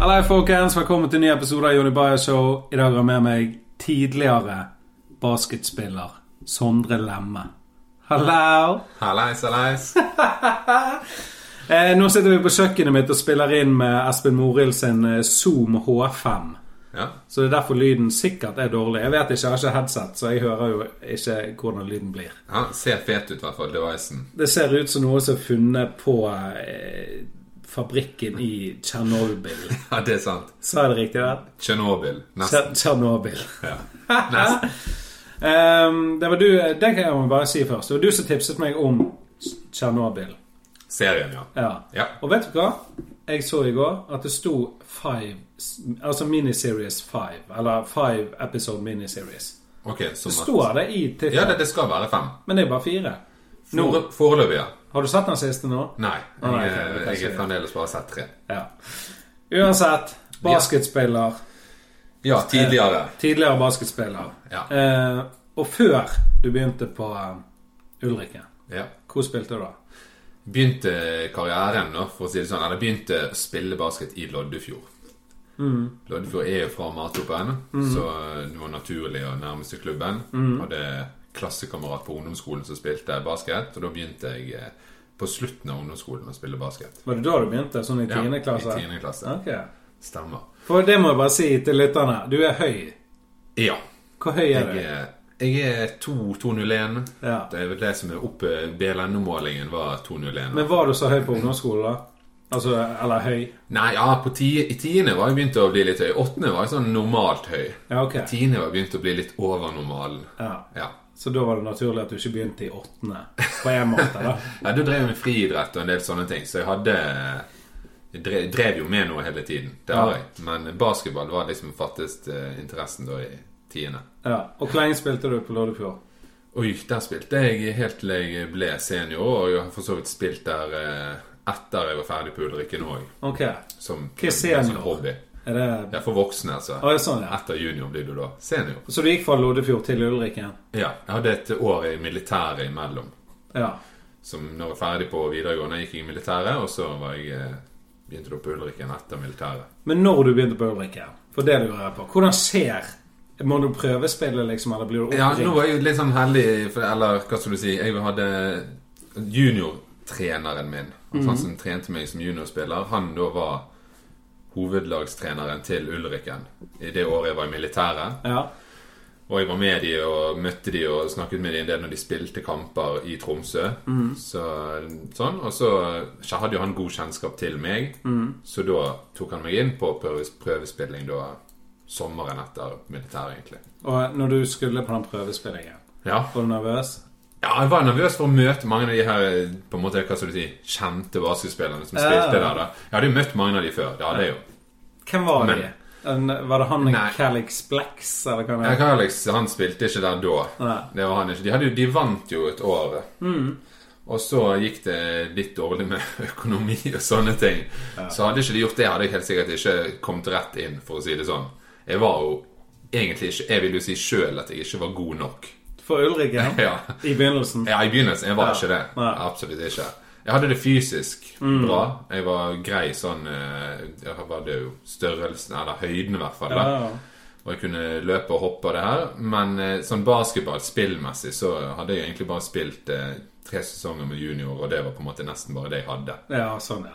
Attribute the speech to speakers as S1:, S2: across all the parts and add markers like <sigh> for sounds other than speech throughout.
S1: Hei, folkens. Velkommen til en ny episode av Jonny Bayer Show. I dag har jeg med meg tidligere basketspiller Sondre Lemme. Hallo!
S2: Hallais, hallais.
S1: <laughs> Eh, nå sitter vi på kjøkkenet mitt og spiller inn med Espen Morild sin eh, Zoom H5.
S2: Ja.
S1: Så det er derfor lyden sikkert er dårlig. Jeg vet ikke, jeg har ikke headset, så jeg hører jo ikke hvordan lyden blir.
S2: Han ser fet ut, i hvert fall, devicen.
S1: Det ser ut som noe som er funnet på eh, fabrikken i Tsjernobyl.
S2: Ja, det er sant.
S1: Sa jeg det riktig der?
S2: Tsjernobyl. Nesten.
S1: Tsjer- Tsjernobyl.
S2: Ja.
S1: <laughs>
S2: Nesten.
S1: Ehm, det var du Det kan jeg jo bare si først. Det var du som tipset meg om Tsjernobyl.
S2: Serien, ja.
S1: Ja.
S2: Ja.
S1: Og vet du hva? Jeg så i går at det sto five Altså miniseries five. Eller five episode miniseries.
S2: Ok, så
S1: Det
S2: ma-
S1: står det i
S2: Ja,
S1: tittelen,
S2: det, det skal være fem.
S1: men det er bare fire.
S2: Fore, foreløpig, ja.
S1: Har du sett den siste nå?
S2: Nei.
S1: Nei,
S2: Jeg,
S1: ok, det kan
S2: er- jeg
S1: jeg
S2: er
S1: si.
S2: fremdeles bare sett tre.
S1: Ja. Uansett, basketspiller.
S2: Ja, tidligere.
S1: Tidligere basketspiller.
S2: Ja.
S1: Eh, og før du begynte på eh, Ulrikke,
S2: Ja.
S1: hvor spilte du da?
S2: Begynte karrieren, da, for å si det sånn. Eller begynte å spille basket i Loddefjord.
S1: Mm.
S2: Loddefjord er jo fra Matoppen, så det var naturlig å nærme seg klubben.
S1: Mm.
S2: Hadde klassekamerat på ungdomsskolen som spilte basket, og da begynte jeg eh, på slutten av ungdomsskolen å spille basket.
S1: Var det da du begynte? Sånn i
S2: Ja,
S1: tiende klasse?
S2: I 10. klasse.
S1: Ok.
S2: Stemmer.
S1: For det må jeg bare si til lytterne. Du er høy.
S2: Ja.
S1: Hvor høy er du?
S2: Jeg er, jeg er 2-201.
S1: Ja.
S2: Det er vel det som er oppe BLNO-målingen var 201.
S1: Men var du så høy på ungdomsskolen, da? Altså, eller høy?
S2: Nei, ja, på ti, i tiende var jeg begynt å bli litt høy. I Åttende var jeg sånn normalt høy.
S1: Ja, ok.
S2: I Tiende var jeg begynt å bli litt over normalen.
S1: Ja.
S2: Ja.
S1: Så da var det naturlig at du ikke begynte i åttende, på en måte, da.
S2: ja du drev jeg med friidrett og en del sånne ting, så jeg hadde jeg drev, drev jo med noe hele tiden. Det
S1: Ja.
S2: har jeg. Men basketball var liksom fattest eh, interessen da i tiende.
S1: Ja. Og hvor lenge spilte du på Loddefjord?
S2: Oi, der spilte jeg helt til jeg ble senior, og jeg har for så vidt spilt der eh, etter jeg var ferdig på Ulrikken òg.
S1: Ok.
S2: Som
S1: Hva er
S2: som
S1: senior?
S2: hobby.
S1: Er det
S2: Ja, for voksne, altså.
S1: Å, ja, sånn, ja.
S2: Etter junior blir du da senior.
S1: Så du gikk fra Loddefjord til Ulriken?
S2: Ja, jeg hadde et år i militæret imellom.
S1: Ja.
S2: Som når jeg var ferdig på videregående, gikk jeg i militæret, og så var jeg, eh, begynte jeg på Ulrikken etter militæret.
S1: Men når du begynte på Ulriken, for det lurer jeg på, hvordan ser Må du prøvespille, liksom, eller blir du
S2: Ja,
S1: oppringt?
S2: nå var jeg jo litt sånn heldig, for, eller hva skal du si, jeg hadde juniortreneren min. Altså, Han som trente meg som juniorspiller, han da var hovedlagstreneren til Ulrikken i det året jeg var i militæret.
S1: Ja.
S2: Og jeg var med de og møtte de og snakket med de en del når de spilte kamper i Tromsø. Så, sånn, Og så hadde jo han god kjennskap til meg, så da tok han meg inn på prøves, prøvespilling da sommeren etter militæret, egentlig.
S1: Og når du skulle på den prøvespillingen,
S2: Ja.
S1: var du nervøs?
S2: ja, jeg var nervøs for å møte mange av de her på en måte, hva skal du si, kjente basketspillerne som
S1: Ja.
S2: spilte der. da. Jeg hadde jo møtt mange av de før. det hadde jeg jo.
S1: Hvem var
S2: Men-
S1: de? En, var det han
S2: Nei.
S1: Calix Blex, eller hva det
S2: Jeg
S1: er?
S2: kan Alex, han spilte ikke der da.
S1: Nei.
S2: Det var han ikke. De, hadde, jo- de vant jo et år.
S1: Mm.
S2: Og så gikk det litt dårlig med <laughs> økonomi og sånne ting. Så hadde ikke de gjort det, hadde jeg helt sikkert ikke kommet rett inn, for å si det sånn. Jeg var jo egentlig ikke Jeg vil jo si sjøl at jeg ikke var god nok. <laughs>
S1: For Ulriken?
S2: Ja. <laughs>
S1: I begynnelsen?
S2: Ja, I begynnelsen jeg var
S1: Ja.
S2: ikke det.
S1: Nei. Mm.
S2: Absolutt ikke. Jeg hadde det fysisk bra. Jeg var grei sånn eh, Jeg hadde jo størrelsen, eller høyden i hvert fall. da.
S1: Ja.
S2: Og jeg kunne løpe og hoppe og det her. Men eh, sånn basketball, spillmessig, så hadde jeg egentlig bare spilt eh, tre sesonger med junior, og det var på en måte nesten bare det jeg hadde.
S1: ja, sånn, ja.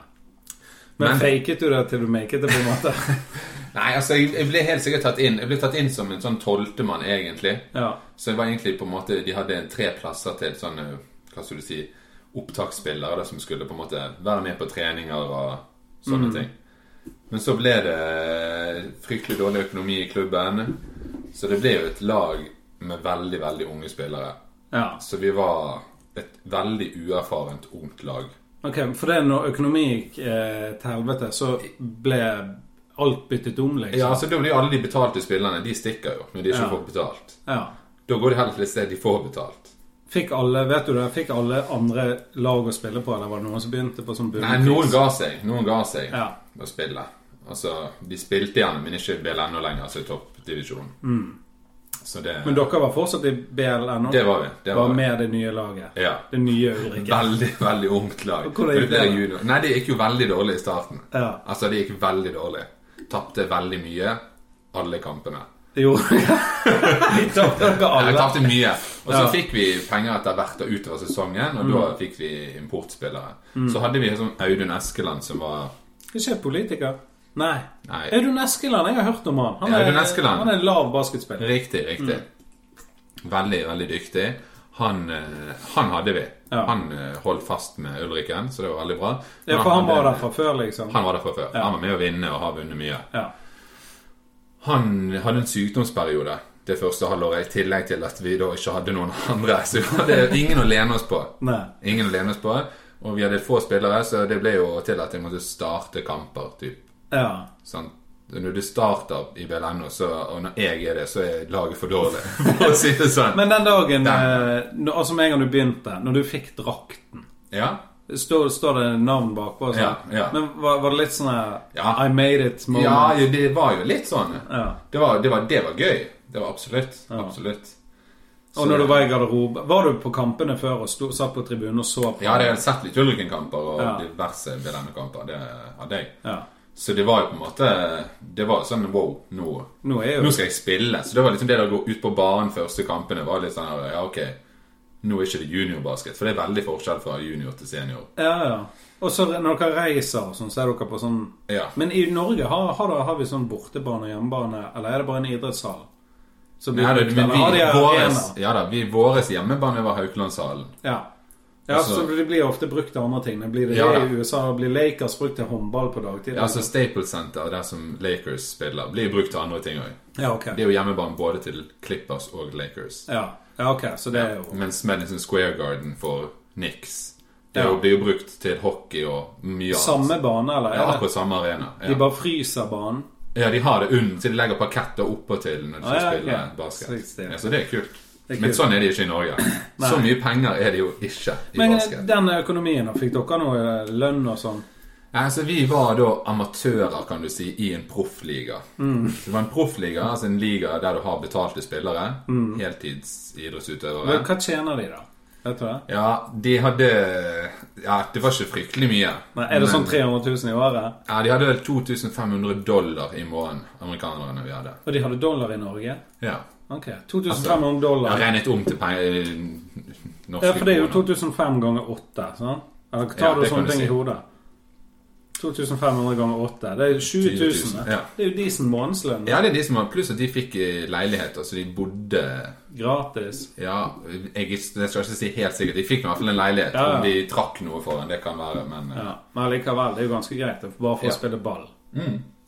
S1: Men,
S2: Men-
S1: faket du det til du maket det, på en måte? <laughs>
S2: Nei, altså, jeg, jeg ble helt sikkert tatt inn. Jeg ble tatt inn som en sånn tolvtemann, egentlig.
S1: ja.
S2: Så det var egentlig på en måte De hadde tre plasser til sånn eh, Hva skal du si Opptaksspillere da, som skulle på en måte være med på treninger og
S1: Mm.
S2: sånne ting. Men så ble det fryktelig dårlig økonomi i klubben. Så det ble jo et lag med veldig, veldig unge spillere.
S1: ja.
S2: Så vi var et veldig uerfarent ungt lag.
S1: Ok, for det er når økonomi gikk eh, til helvete, så ble alt byttet om,
S2: Ja,
S1: liksom?
S2: altså Da blir alle de betalte spillerne De stikker jo når de ikke
S1: Ja.
S2: får betalt.
S1: ja.
S2: Da går de heller til et sted de får betalt.
S1: Fikk alle vet du det, fikk alle andre lag å spille på, eller var det noen som begynte på sånn
S2: Nei, noen ga seg. Noen ga seg
S1: Ja.
S2: å spille. Altså, de spilte igjen, men ikke i BLNO lenger, altså i toppdivisjonen. Så det,
S1: Mm. Men dere var fortsatt i BLNO?
S2: det var vi. Det var, vi.
S1: var med det nye laget?
S2: Ja.
S1: Det nye Ulriken?
S2: Veldig, veldig ungt lag.
S1: Og hvordan
S2: Men
S1: gikk
S2: ble
S1: det da?
S2: junior. Nei, det gikk jo veldig dårlig i starten.
S1: Ja.
S2: Altså, det gikk veldig dårlig. Tapte veldig mye. Alle kampene.
S1: Jo.
S2: <laughs>
S1: Vi tapte dere
S2: Jeg
S1: alle.
S2: tapte mye. Og så
S1: Ja. Mm.
S2: fikk vi penger etter hvert og utover sesongen, og da fikk vi importspillere. Så hadde vi liksom Audun Eskeland som var
S1: Ikke politiker. Nei.
S2: Nei.
S1: Audun Eskeland. Jeg har hørt om han. Han
S2: Ja,
S1: er,
S2: Audun Eskeland.
S1: han er en lav basketspiller.
S2: Riktig, riktig. Veldig, veldig dyktig. Han, eh, han hadde vi.
S1: Ja.
S2: Han eh, holdt fast med Ulriken, så det var veldig bra.
S1: Ja,
S2: Men
S1: for han var
S2: hadde-
S1: der fra før, liksom.
S2: Han var der fra før. Han var med å vinne og har vunnet mye.
S1: Ja.
S2: Han hadde en sykdomsperiode det første halvåret, i tillegg til at vi da ikke hadde noen andre. Så vi hadde ingen å lene oss på.
S1: Nei.
S2: Ingen å lene oss på. Og vi hadde få spillere, så det ble jo til at jeg måtte starte kamper, typ.
S1: Ja.
S2: Sant? Når du starter i BLM, nå, så, og når jeg er det, så er laget for dårlig, <laughs> for å si det sånn.
S1: Men den dagen
S2: Den.
S1: eh, når- Altså med en gang du begynte, når du fikk drakten
S2: Ja,
S1: Står, står det navn bak? Var det sånn?
S2: Ja, ja.
S1: Men var, var det litt sånn her
S2: Ja.
S1: I made it moment?
S2: ja jo, det var jo litt sånn.
S1: Ja.
S2: Det var, det var, det var gøy. Det var absolutt. Absolutt.
S1: Og når du var i garderobe Var du på kampene før og sto, satt på tribunen og så på?
S2: Ja, jeg hadde sett litt Ulriken-kamper og
S1: Ja.
S2: diverse BLM-kamper. Det hadde jeg.
S1: Ja.
S2: Så det var jo på en måte Det var sånn wow, nå,
S1: Nå er jo
S2: nå skal jeg spille. Så det var liksom det å gå ut på banen første kampene var litt sånn Ja, ok, nå er ikke det juniorbasket. For det er veldig forskjell fra junior til senior.
S1: Ja, ja. Og så re- når dere reiser og sånn, så er dere på sånn
S2: Ja.
S1: Men i Norge har, har, dere- har vi sånn bortebane og hjemmebane, eller er det bare en idrettshall? Så blir
S2: Nei, det,
S1: det-
S2: men
S1: eller har
S2: vi,
S1: de
S2: våres,
S1: arenaer?
S2: ja da, vi, våres hjemmebane var Haukelandshallen.
S1: Ja. Ja,
S2: Altså-
S1: så det blir ofte brukt til andre ting. Det blir det
S2: Ja, da.
S1: i USA, blir Lakers brukt til håndball på dagtid.
S2: Ja, altså Staples Center, der som Lakers spiller, blir brukt til andre ting òg.
S1: ja, ok.
S2: Det er jo hjemmebane både til Clippers og Lakers.
S1: Ja. ja, ok. Så det er jo
S2: Mens Madison Square Garden for Knicks Det
S1: Ja.
S2: er jo- blir jo brukt til hockey og mye annet.
S1: samme bane, eller?
S2: ja,
S1: Er det?
S2: akkurat samme arena. Ja.
S1: De bare fryser banen.
S2: Ja, de har det under, så de legger parketter oppå til når de skal
S1: Ah, ja,
S2: spille
S1: ok. Så
S2: basket.
S1: riktig.
S2: Ja, så det er kult.
S1: Det er
S2: Men
S1: kult.
S2: sånn er det ikke i Norge. Så
S1: Nei.
S2: mye penger er det jo ikke i
S1: Men eh,
S2: basket.
S1: den økonomien, da? Fikk dere noe lønn og sånn?
S2: Ja, Altså, vi var da amatører, kan du si, i en proffliga.
S1: Mm.
S2: Så Det var en proffliga, altså en liga der du har betalte spillere,
S1: Mm.
S2: heltidsidrettsutøvere.
S1: Hva tjener de, da? Vet du det?
S2: Ja, de hadde Ja, det var ikke fryktelig mye.
S1: Nei, er det
S2: Men-
S1: sånn 300 000 i året?
S2: Ja, de hadde vel 2500 dollar i måneden, amerikanerne vi hadde.
S1: Og de hadde dollar i Norge?
S2: Ja.
S1: Ok.
S2: Altså,
S1: 2500 dollar.
S2: Jeg regnet om til penger norske
S1: Ja, for det er jo
S2: kroner.
S1: 2005 ganger 8. Sant? Eller
S2: Ja,
S1: tar
S2: det kan
S1: du sånne
S2: du
S1: ting
S2: si.
S1: i hodet? 2500 ganger 8. Det er jo 20 000.
S2: 10 000, ja.
S1: Det er jo decent månedslønn.
S2: Ja, det er de som har Pluss at de fikk eh, leiligheter, så de bodde
S1: Gratis.
S2: Ja, jeg, jeg skal ikke si helt sikkert. De fikk i hvert fall en leilighet.
S1: Ja, ja.
S2: Om de trakk noe for den, det kan være, men eh,
S1: Ja. Men likevel, det er jo ganske greit det, bare for
S2: Ja. Mm.
S1: å spille ball.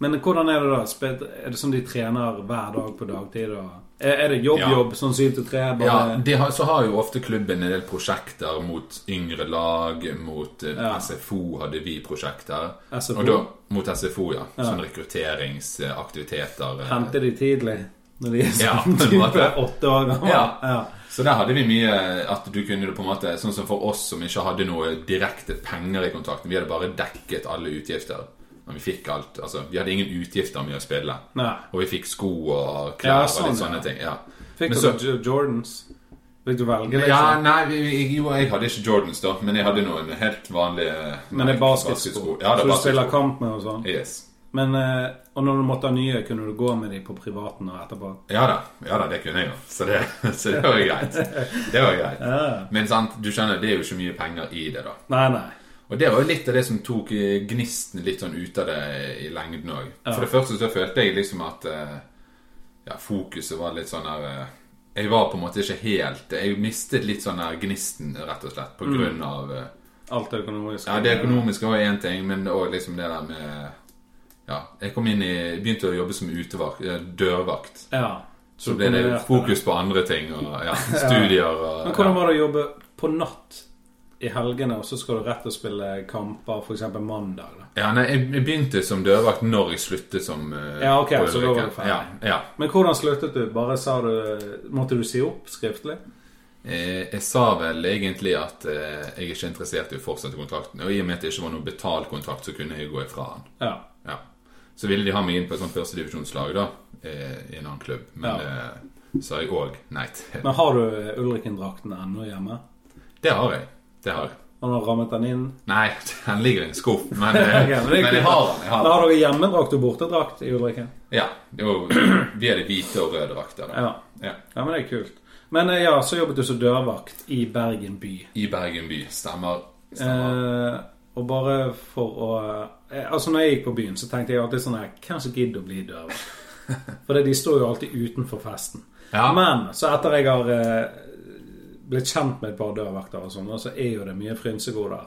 S1: Men hvordan er det da? Spil- Er det som de trener hver dag på dagtid? Og... Er er det
S2: Ja.
S1: jobb-jobb, sånn 7 til 3? Bare...
S2: Ja, de har, så har jo ofte klubben en del prosjekter mot yngre lag, mot eh,
S1: Ja.
S2: SFO hadde vi prosjekter.
S1: SFO?
S2: Og da, mot SFO, ja. Sånn rekrutteringsaktiviteter. eh.
S1: Hente de tidlig? Når de er
S2: Ja,
S1: sånn
S2: på en
S1: type
S2: måte.
S1: åtte år gamle?
S2: Ja. Så der hadde vi mye at du kunne det på en måte Sånn som for oss som ikke hadde noe direkte penger i kontrakten. Vi hadde bare dekket alle utgifter. Men vi fikk alt. Altså, vi hadde ingen utgifter med å spille.
S1: Nei.
S2: Og vi fikk sko og
S1: Ja,
S2: klær
S1: sånn,
S2: og litt
S1: ja.
S2: sånne ting. Ja. Men
S1: Fikk du
S2: så-
S1: Jo- Jordans? Fikk du velge? liksom?
S2: Ja, nei, vi, vi- jo, jeg hadde ikke Jordans, da, men jeg hadde noen helt vanlige
S1: Men det
S2: Nike
S1: er basketsko.
S2: Ja, det
S1: så
S2: er
S1: du spiller
S2: basketsko.
S1: kamp med og sånn.
S2: Yes.
S1: Men, eh, og når du måtte ha nye, kunne du gå med de på privaten og etterpå?
S2: Ja da, ja da, det kunne jeg jo. Så det, <laughs> så det var jo
S1: <laughs>
S2: greit. Det var jo greit. Men sant, du skjønner, det er jo ikke mye penger i det, da.
S1: Nei, nei.
S2: Og det var jo litt av det som tok eh, gnisten litt sånn ut av det i lengden òg. For det første så følte jeg liksom at eh, ja, fokuset var litt sånn her eh, Jeg var på en måte ikke helt Jeg mistet litt sånn her gnisten, rett og slett, på
S1: Mm.
S2: grunn av eh,
S1: Alt er økonomisk.
S2: Ja, det økonomiske var én ting, men òg liksom det der med Ja, jeg kom inn i Begynte å jobbe som utevakt, eh, dørvakt.
S1: Ja.
S2: Så ble det
S1: kombinert
S2: fokus på andre ting og
S1: <laughs>
S2: ja, studier og
S1: Men hvordan var det å jobbe på natt i helgene, og så skal du rett og spille kamper, f.eks. mandag? da?
S2: Ja, nei, jeg jeg begynte som dørvakt når jeg sluttet som eh,
S1: Ja, ok,
S2: på
S1: så da var
S2: Ulriken.
S1: du ferdig.
S2: Ja, ja.
S1: Men hvordan sluttet du? Bare sa du Måtte du si opp skriftlig?
S2: Eh, Jeg sa vel egentlig at eh, jeg er ikke interessert i å fortsette kontrakten. Og i og med at det ikke var noen betalt kontrakt, så kunne jeg gå ifra den.
S1: Ja.
S2: Ja. Så ville de ha meg inn på et sånt førstedivisjonslag, da, eh, i en annen klubb. Men eh, sa jeg òg nei til.
S1: Men har du Ulriken-drakten ennå hjemme?
S2: Det har jeg. Det har jeg.
S1: Han har rammet den inn.
S2: Nei, <laughs> den ligger i en skuff,
S1: <laughs>
S2: men, eh,
S1: Ok, men
S2: men
S1: det
S2: jeg
S1: er kult.
S2: har den. Jeg har
S1: Da
S2: den.
S1: har dere hjemmedrakt og bortedrakt i Ulriken.
S2: Ja, det var, <clears throat> Vi hadde hvite og røde drakter. da.
S1: Ja.
S2: Ja.
S1: ja, men det er kult. Men eh, ja, så jobbet du som dørvakt i Bergen by.
S2: I Bergen by. Stemmer. Stemmer.
S1: Eh, og bare for å eh, Altså, når jeg gikk på byen, så tenkte jeg alltid sånn her Hvem som gidder å bli dørvakt? For de står jo alltid utenfor festen.
S2: Ja.
S1: Men så etter jeg har eh, blitt kjent med et par dørvakter og sånn, og så er jo det mye frynsegoder.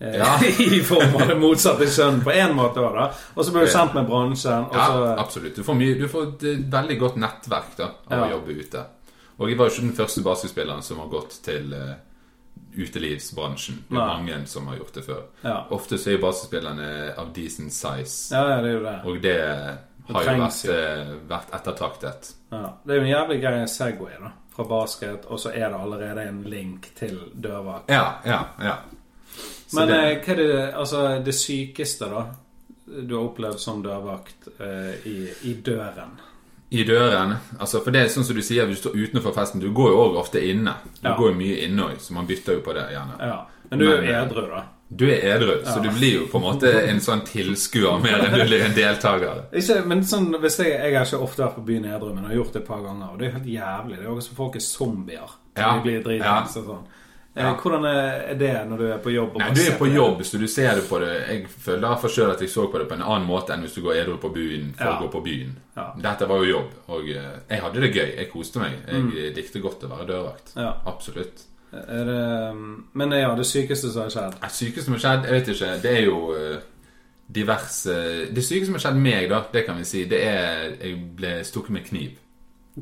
S1: Eh,
S2: Ja.
S1: <laughs> I form av det motsatte kjønn, på én måte. også, da. Og så blir du
S2: Ja.
S1: kjent med bransjen. Og
S2: ja,
S1: så,
S2: absolutt. Du får, mye, du får et eh, veldig godt nettverk da, av å
S1: Ja.
S2: jobbe ute. Og jeg var jo ikke den første basketspilleren som har gått til eh, utelivsbransjen. Det er
S1: Nei.
S2: mange som har gjort det før.
S1: Ja.
S2: Ofte så er jo basketspillerne av decent size,
S1: ja, ja, det er jo det.
S2: og det har jo vært,
S1: trengs jo.
S2: eh, vært ettertraktet.
S1: Ja. Det er jo en jævlig grei Segway, da. Fra basket, og så er det allerede en link til dørvakt.
S2: Ja, ja, ja. Så
S1: Men
S2: det-
S1: eh, hva er det, altså, det sykeste, da? Du har opplevd som dørvakt eh, i, i døren.
S2: I døren. altså For det er sånn som du sier, hvis du står utenfor festen Du går jo også ofte inne. Du
S1: Ja.
S2: går jo mye inne også, så man bytter jo på det gjerne.
S1: Ja. Men du er jo
S2: Men, eh,
S1: edru, da.
S2: Du er edru, så du blir jo på en måte en sånn tilskuer mer enn du blir en deltaker.
S1: Ikke, men sånn, hvis jeg, jeg har ikke ofte vært på byen i Edru, men har gjort det et par ganger. Og det er jo helt jævlig. Det er jo også som folk er zombier.
S2: Ja.
S1: De blir
S2: Ja.
S1: dritings og sånn. Eh,
S2: Ja.
S1: Hvordan er det når du er på jobb? og
S2: Nei,
S1: bare
S2: du er
S1: ser
S2: på
S1: det?
S2: jobb, så du ser det på det Jeg føler derfor selv at jeg så på det på en annen måte enn hvis du går edru på byen for
S1: Ja.
S2: å gå på byen.
S1: Ja.
S2: Dette var jo jobb, og eh, jeg hadde det gøy. Jeg koste meg. Jeg
S1: Mm.
S2: eh, likte godt å være dørvakt.
S1: Ja.
S2: Absolutt.
S1: Er det, mm, men ja, det sykeste som har skjedd.
S2: Det syke som har skjedd, jeg vet ikke, det er jo eh, diverse Det syke som har skjedd meg, da, det kan vi si, det er jeg ble stukket med kniv.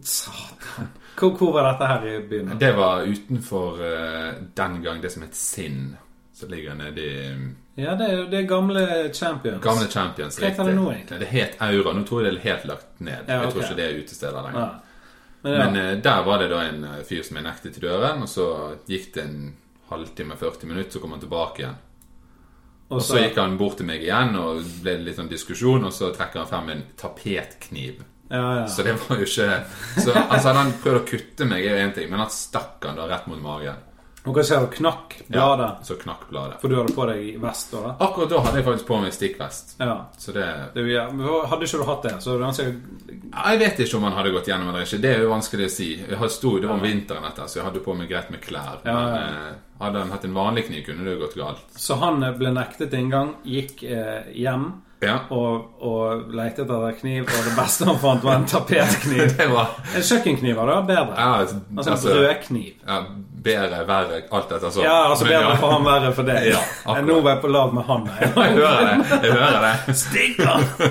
S1: Satan. Hvor, hvor var dette her i byen?
S2: Det var utenfor eh, den gang det som het Sinn, som ligger nede i
S1: Ja, det er, det er gamle champions.
S2: gamle Champions.
S1: Hva heter det
S2: riktig.
S1: nå, egentlig?
S2: Det het Aura. Nå tror jeg det er helt lagt ned.
S1: Ja,
S2: Jeg tror
S1: ok.
S2: ikke det er utesteder lenger.
S1: Ja. Men, ja.
S2: Men eh, der var det da en eh, fyr som jeg nektet i døren, og så gikk det en halvtime, 40 minutter, så kom han tilbake igjen. Og så gikk han bort til meg igjen, og det ble litt sånn diskusjon, og så trekker han frem en tapetkniv.
S1: ja, ja.
S2: Så det var jo ikke så, Altså Hadde han prøvd å kutte meg, er jo én ting, men han stakk han da rett mot magen.
S1: Nå kan jeg se at du knakk bladet.
S2: Så knakk bladet.
S1: For du hadde på deg vest da. da.
S2: Akkurat da hadde jeg faktisk på meg stikkvest.
S1: Ja.
S2: Så det
S1: Det er jo jæv- men Hadde ikke du hatt det, så hadde han sikkert
S2: Jeg vet ikke om han hadde gått gjennom eller ikke. Det er jo vanskelig å si. Jeg hadde sto, det var om vinteren etter, så jeg hadde på meg greit med klær. Men
S1: Ja, ja,
S2: eh, hadde han hatt en vanlig kniv, kunne det jo gått galt.
S1: Så han eh, ble nektet inngang, gikk eh, hjem
S2: Ja. <laughs>
S1: og, og lette etter kniv, og det beste han fant, var en
S2: <laughs>
S1: tapetkniv.
S2: Det var
S1: En kjøkkenkniv var da bedre.
S2: ja,
S1: Altså en
S2: altså,
S1: brødkniv.
S2: ja, Bedre, verre, alt etter sånn.
S1: Ja, altså bedre for han, verre for deg.
S2: Ja, akkurat.
S1: Nå var jeg på lag med han.
S2: <laughs> Jeg hører det. jeg hører det
S1: Stikker!
S2: <laughs>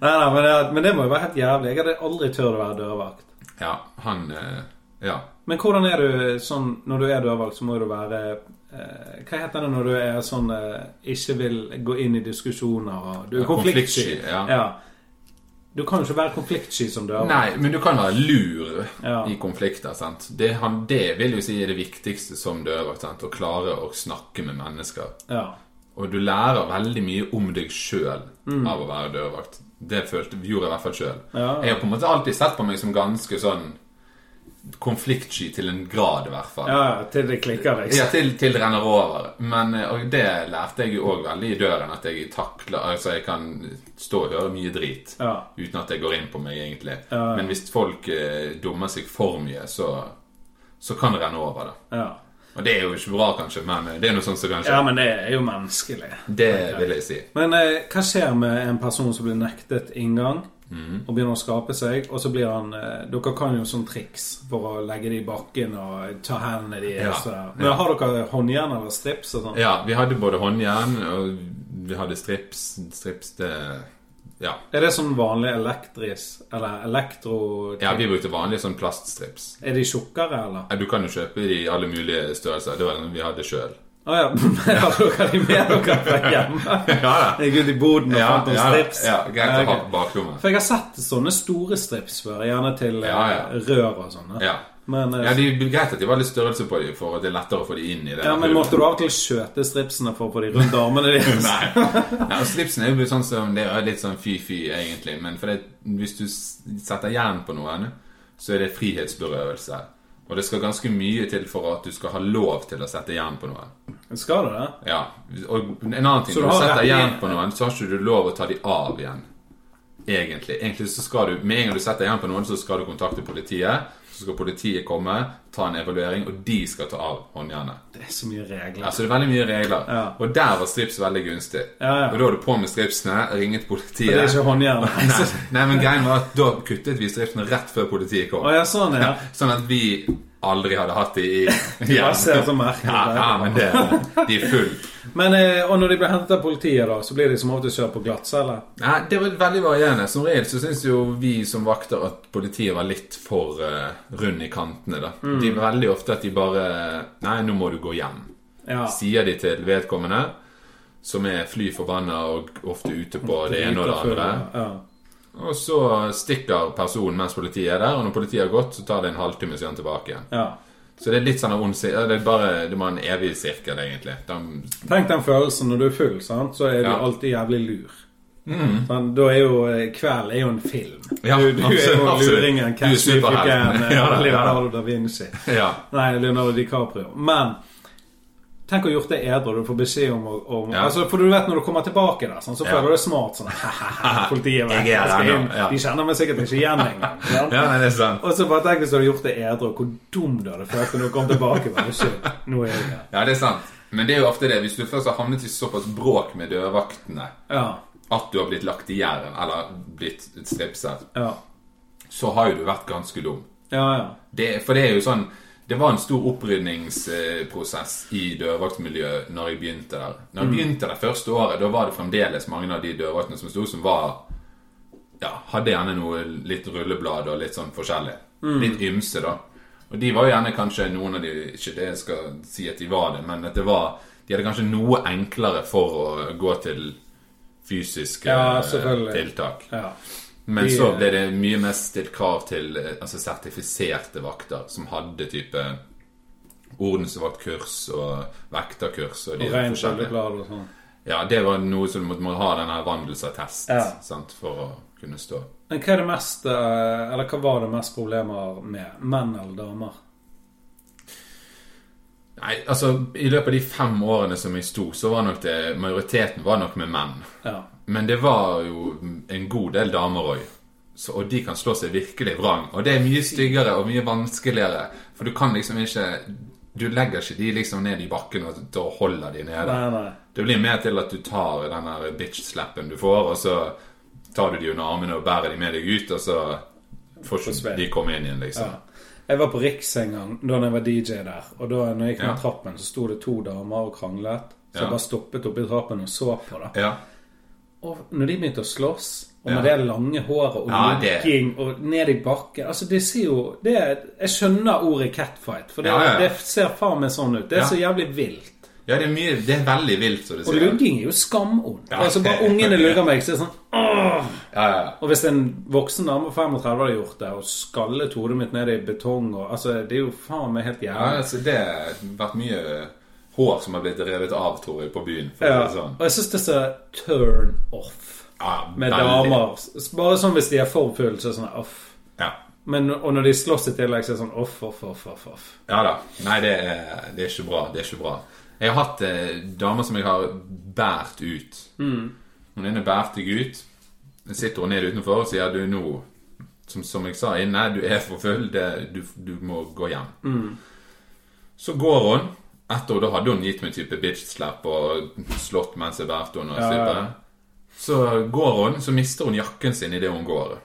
S1: nei, nei, men det, men det må jo være helt jævlig. Jeg hadde aldri turt å være dørvakt.
S2: Ja, han eh, Ja.
S1: Men hvordan er du sånn når du er dørvalgt, så må du være eh, Hva heter det når du er sånn eh, ikke vil gå inn i diskusjoner og Du er
S2: Ja,
S1: konfliktsky.
S2: konfliktsky, ja.
S1: Du kan jo ikke være konfliktsky som dørvakt.
S2: Nei, men du kan være lur
S1: Ja.
S2: i konflikter. sant? Det, han, det vil jo si er det viktigste som dørvakt. sant? Å klare å snakke med mennesker.
S1: Ja.
S2: Og du lærer veldig mye om deg sjøl
S1: Mm.
S2: av å være dørvakt. Det følte, gjorde jeg i hvert fall sjøl.
S1: Ja.
S2: Jeg har på en måte alltid sett på meg som ganske sånn konfliktsky til en grad, i hvert fall.
S1: ja, til det klikker,
S2: Ja,
S1: liksom.
S2: til, til det renner over. Men eh, og det lærte jeg jo òg veldig i døren, at jeg takler Altså, jeg kan stå og høre mye drit
S1: Ja.
S2: uten at det går inn på meg, egentlig.
S1: Ja.
S2: Men hvis folk eh, dummer seg for mye, så, så kan det renne over, da.
S1: Ja.
S2: Og det er jo ikke bra, kanskje, men eh, det er noe sånt som kanskje
S1: ja, men det er jo menneskelig.
S2: Det vil jeg si.
S1: Men eh, hva skjer med en person som blir nektet inngang,
S2: Mm.
S1: og begynner å skape seg, og så blir han eh, Dere kan jo sånn triks for å legge det i bakken og ta hendene de
S2: Ja.
S1: og så der. Men har dere håndjern eller strips og sånn?
S2: Ja, vi hadde både håndjern og vi hadde strips. Strips, det Ja.
S1: Er det sånn vanlig elektris Eller elektro...
S2: ja vi brukte vanlige sånn plaststrips.
S1: Er de tjukkere, eller?
S2: Ja, Du kan jo kjøpe de i alle mulige størrelser. Det var den vi hadde
S1: <laughs>
S2: sjøl.
S1: Å ja. Har dere de med dere fra hjemme?
S2: Ja,
S1: Jeg gikk ut i boden og
S2: ja,
S1: fant noen
S2: ja,
S1: strips.
S2: ja, greit å ha
S1: ok.
S2: på baklommet.
S1: For jeg har sett sånne store strips før, gjerne til eh,
S2: Ja, ja.
S1: rør og sånne.
S2: Ja.
S1: Men, eh,
S2: Ja, de, greit at de var litt størrelse på dem, for at det er lettere å få dem inn i det.
S1: Ja, men måtte du av og til skjøte stripsene for å få de rundt
S2: <laughs>
S1: armene dine?
S2: Nei.
S1: <laughs>
S2: Nei, og slipsen er jo sånn som Det er litt sånn fy-fy, egentlig. Men for det, hvis du s- setter jern på noen, så er det frihetsberøvelse. Og det skal ganske mye til for at du skal ha lov til å sette jern på noen.
S1: Skal du det?
S2: Ja, og en annen ting
S1: Så du
S2: Når du
S1: har
S2: setter
S1: rett-
S2: jern på noen, så har ikke du lov å ta de av igjen. Egentlig. Egentlig så skal du Med en gang du setter jern på noen, så skal du kontakte politiet. Så skal politiet komme, ta en evaluering, og de skal ta av håndjernet.
S1: Det er så mye regler.
S2: Altså, det er veldig mye regler.
S1: Ja.
S2: Og der var strips veldig gunstig.
S1: Ja, ja.
S2: Og da var du på med stripsene, ringet
S1: For
S2: politiet.
S1: det er ikke håndjern.
S2: Nei, nei, men greien var at da kuttet vi stripsene rett før politiet kom.
S1: <laughs> Å ja, sånn, ja.
S2: Sånn at vi aldri hadde hatt de
S1: <laughs>
S2: i
S1: Bare ser så merkelig
S2: Ja,
S1: ut.
S2: ja, men det, de er full.
S1: Men, eh, og når de blir hentet av politiet, da, så blir de som ofte kjørt på glattcelle?
S2: Nei, det var veldig varierende. Som regel så syns jo vi som vakter at politiet var litt for eh, rund i kantene, da.
S1: Mm.
S2: De er veldig ofte at de bare Nei, nå må du gå hjem.
S1: Ja.
S2: Sier de til vedkommende, som er fly forbanna og ofte ute på det ene og det andre.
S1: Ja.
S2: Og så stikker personen mens politiet er der, og når politiet har gått, så tar det en halvtime så er han tilbake igjen.
S1: ja.
S2: Så det er litt sånn av ond sir- ja, Det er bare det var en evig sirkel, egentlig. De,
S1: Tenk den følelsen når du er full, sant? så er du
S2: Ja. Mm.
S1: alltid jævlig lur. Sånn, da er jo eh, Kveld er jo en film.
S2: Ja,
S1: du, du er
S2: absolutt,
S1: jo
S2: absolutt. Du er
S1: luringen. Catch me if you
S2: superhelten.
S1: can.
S2: <laughs>
S1: eh,
S2: Ja, ja.
S1: Leonardo da Vinci.
S2: ja.
S1: Nei, Leonardo DiCaprio. Men tenk å ha gjort det edru. Du får beskjed om, å- om
S2: Ja.
S1: altså, For du vet når du kommer tilbake der, sånn, så
S2: Ja.
S1: føler du deg smart. Sånn, <laughs>
S2: <laughs>
S1: Politiet vet,
S2: Jeg er
S1: jeg skal
S2: her nå,
S1: inn.
S2: ja.
S1: De kjenner meg sikkert ikke igjen
S2: <laughs>
S1: engang. sant?
S2: ja, nei, det er sant.
S1: Og så bare tenk hvis du hadde gjort det edru, hvor dum du hadde følt når du kom tilbake. Bare, shit, nå er jeg her.
S2: Ja, det er sant. Men det er jo ofte det. Hvis du først har havnet i såpass bråk med dørvaktene
S1: Ja,
S2: at du har blitt lagt i jæren, eller blitt stripset,
S1: ja,
S2: så har jo du vært ganske dum.
S1: ja. ja.
S2: Det, for det er jo sånn Det var en stor opprydningsprosess i dørvaktmiljøet når jeg begynte der. Når jeg
S1: Mm.
S2: begynte det første året, da var det fremdeles mange av de dørvaktene som sto, som var Ja, hadde gjerne noe litt rulleblad og litt sånn forskjellig.
S1: Mm.
S2: Litt ymse, da. Og de var jo gjerne kanskje noen av de Ikke det jeg skal si at de var det, men at det var De hadde kanskje noe enklere for å gå til fysiske
S1: Ja,
S2: eh,
S1: selvfølgelig.
S2: tiltak.
S1: ja.
S2: Men
S1: De-
S2: så ble det mye mer stilt krav til eh, altså sertifiserte vakter som hadde type ordensvaktkurs og vekterkurs og de
S1: Og rent
S2: forskjellige.
S1: sjøldeklad og sånn.
S2: Ja, det var noe som måtte må ha denne vandelsattest
S1: Ja.
S2: sant, for å kunne stå.
S1: Men hva er det mest eh, Eller hva var det mest problemer med? Menn eller damer?
S2: Nei, altså, i løpet av de fem årene som jeg sto, så var nok det Majoriteten var nok med menn.
S1: Ja.
S2: Men det var jo en god del damer òg. Og de kan slå seg virkelig vrang. Og det er mye styggere og mye vanskeligere. For du kan liksom ikke Du legger ikke de liksom ned i bakken og da holder de nede.
S1: Nei, nei.
S2: Det blir mer til at du tar den der bitch-slappen du får, og så tar du de under armene og bærer de med deg ut, og så får ikke
S1: Forsvinner.
S2: de komme inn igjen, liksom.
S1: Jeg var på Riks en gang da jeg var DJ der. Og da når jeg gikk
S2: Ja.
S1: ned trappen, så sto det to damer og kranglet. Så
S2: Ja.
S1: jeg bare stoppet oppi trappen og så på det.
S2: Ja.
S1: Og når de begynte å slåss, og med
S2: Ja.
S1: det lange håret og
S2: Ja, det-
S1: lukking og ned i bakken Altså, det ser jo det er, Jeg skjønner ordet catfight, for det,
S2: Ja, ja, ja.
S1: det ser faen meg sånn ut. Det er
S2: Ja.
S1: så jævlig vilt.
S2: ja, det er mye Det er veldig vilt, som du
S1: Og
S2: sier.
S1: lugging er jo skamond.
S2: Ja.
S1: Altså, bare ungene lugger meg, så er det sånn
S2: Ja, ja, ja.
S1: Og hvis en voksen dame på 35 hadde gjort det, og skallet hodet mitt ned i betong og Altså, det er jo faen meg helt
S2: Ja,
S1: jævlig.
S2: altså, det har vært mye hår som har blitt revet av, tror jeg, på byen. For
S1: Ja.
S2: å si det sånn.
S1: Og jeg syns det er så turn off
S2: Ja,
S1: med
S2: veldig.
S1: damer. S- Bare sånn hvis de er for fulle, så er det sånn off.
S2: Ja.
S1: Men, og når de slåss i tillegg, så er det sånn off, off, off, off. off.
S2: ja da. Nei, det er, det er ikke bra. Det er ikke bra. Jeg har hatt eh, damer som jeg har båret ut.
S1: Mm.
S2: Hun ene bærte jeg ut. Så sitter hun ned utenfor og sier du nå som, som jeg sa inne, du er for full. Det, du, du må gå hjem.
S1: Mm.
S2: Så går hun. Etter og da hadde hun gitt meg type bitch-slap og slått mens jeg bærte henne. og
S1: Ja, ja.
S2: slippet. Så går hun, så mister hun jakken sin idet hun går.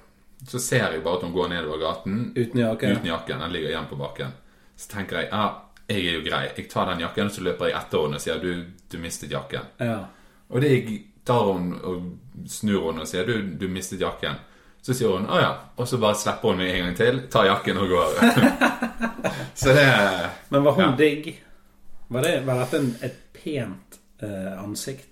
S2: Så ser jeg bare at hun går nedover gaten
S1: Uten jakke.
S2: Uten jakken, Den ligger igjen på bakken. Så tenker jeg ja, jeg er jo grei. Jeg tar den jakken, så løper jeg etter henne og sier du, du mistet jakken.
S1: Ja.
S2: Og det jeg tar hun og snur hun og sier du, du mistet jakken. Så sier hun å ja. Og så bare slipper hun meg en gang til, tar jakken og går. <laughs> så det
S1: Men var hun
S2: Ja.
S1: digg? Var, det, var dette en, et pent eh, ansikt?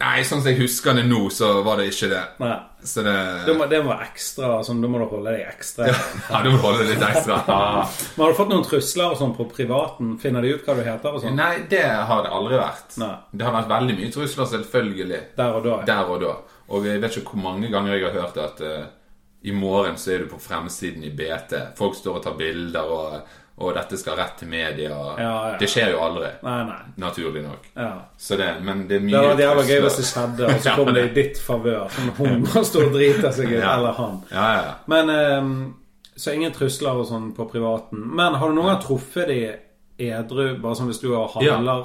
S2: Nei, sånn som jeg husker det nå, så var det ikke det.
S1: Nei.
S2: Så det
S1: Det må, det må være ekstra sånn, Da må du holde deg ekstra.
S2: <laughs> Ja, du må holde det litt
S1: <laughs>
S2: ekstra.
S1: Men har du fått noen trusler og sånn på privaten? Finner de ut hva du heter og sånn?
S2: Nei, det har det aldri vært.
S1: Nei.
S2: Det har vært veldig mye trusler, selvfølgelig.
S1: Der og da? ja.
S2: Der og da. Og jeg vet ikke hvor mange ganger jeg har hørt at eh, i morgen så er du på fremsiden i BT. Folk står og tar bilder og Og dette skal rett til media.
S1: Ja, ja.
S2: Det skjer jo aldri,
S1: Nei, nei.
S2: naturlig nok.
S1: Ja.
S2: Så det, men det er
S1: Det
S2: mye
S1: hadde vært jævla gøy
S2: trøst,
S1: hvis
S2: da.
S1: det skjedde, og så kom det i ditt favør. Sånn at hun bare står og driter seg ut.
S2: Ja.
S1: Eller han.
S2: Ja, ja, ja.
S1: Men ehm, Så ingen trusler og sånn på privaten. Men har du noen gang truffet de edru, bare sånn hvis du og handler?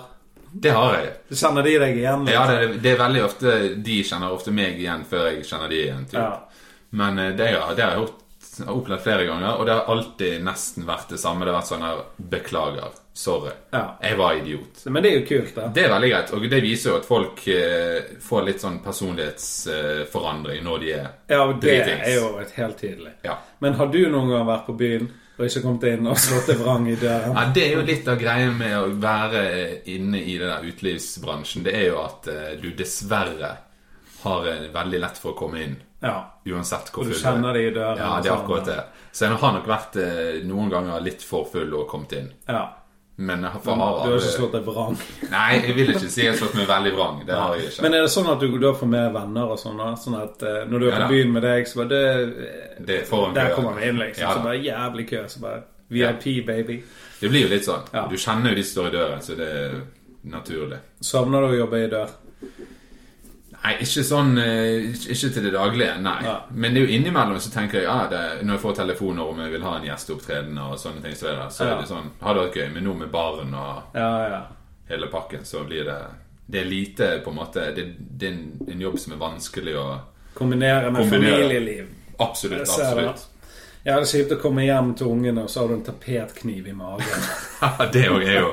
S2: Det har jeg.
S1: Kjenner de deg igjen? liksom.
S2: Ja, det, det er veldig ofte De kjenner ofte meg igjen før jeg kjenner de igjen. Typ.
S1: Ja.
S2: Men eh, det, har- det har jeg gjort, har opplevd flere ganger, og det har alltid nesten vært det samme. Det har vært sånn her Beklager. Sorry.
S1: Ja.
S2: Jeg var idiot.
S1: Men det er jo kult, da.
S2: Det er veldig greit, og det viser jo at folk eh, får litt sånn personlighetsforandring når de er
S1: Ja, og det
S2: dritings.
S1: er jo et helt tydelig.
S2: Ja.
S1: Men har du noen gang vært på byen og ikke kommet inn og slått deg vrang i døren?
S2: Ja, Det er jo litt av greia med å være inne i den der utelivsbransjen. Det er jo at eh, du dessverre har eh, veldig lett for å komme inn.
S1: Ja.
S2: Uansett hvor
S1: Og du
S2: full
S1: kjenner
S2: er.
S1: det i døren
S2: Ja,
S1: og
S2: det er
S1: sånn.
S2: akkurat det. Så jeg har nok vært eh, noen ganger litt for full og kommet inn.
S1: ja.
S2: Men jeg har for
S1: Du har
S2: har
S1: ikke slått deg vrang.
S2: Nei, jeg vil ikke si jeg har slått meg veldig vrang. Det har jeg ikke.
S1: Men er det sånn at du da får med venner og sånn? da? Sånn at eh, når du er
S2: Ja, da.
S1: på byen med deg, så bare det,
S2: Det er foran
S1: Der
S2: køen.
S1: kommer vi inn, liksom.
S2: Ja, da.
S1: så bare jævlig kø. Så bare VIP, baby.
S2: Det blir jo litt sånn.
S1: Ja.
S2: Du kjenner jo de som står i døren, så det er naturlig.
S1: Savner du å jobbe i dør?
S2: Nei, ikke sånn eh, Ikke ikke til det daglige, nei.
S1: Ja.
S2: Men det er jo innimellom så tenker jeg ja, det, når jeg får telefoner om jeg vil ha en gjesteopptreden og sånne ting, så er det, så
S1: Ja.
S2: er det sånn Har det vært gøy, men nå med barn og
S1: Ja, ja.
S2: hele pakken, så blir det Det er lite, på en måte Det, det er en, en jobb som er vanskelig å
S1: Kombinere med
S2: Kombinere.
S1: familieliv.
S2: Absolutt,
S1: Jeg ser det.
S2: absolutt.
S1: Ja, det er kjipt å komme hjem til ungene, og så har du en tapetkniv i magen.
S2: <laughs> det er jo, er jo,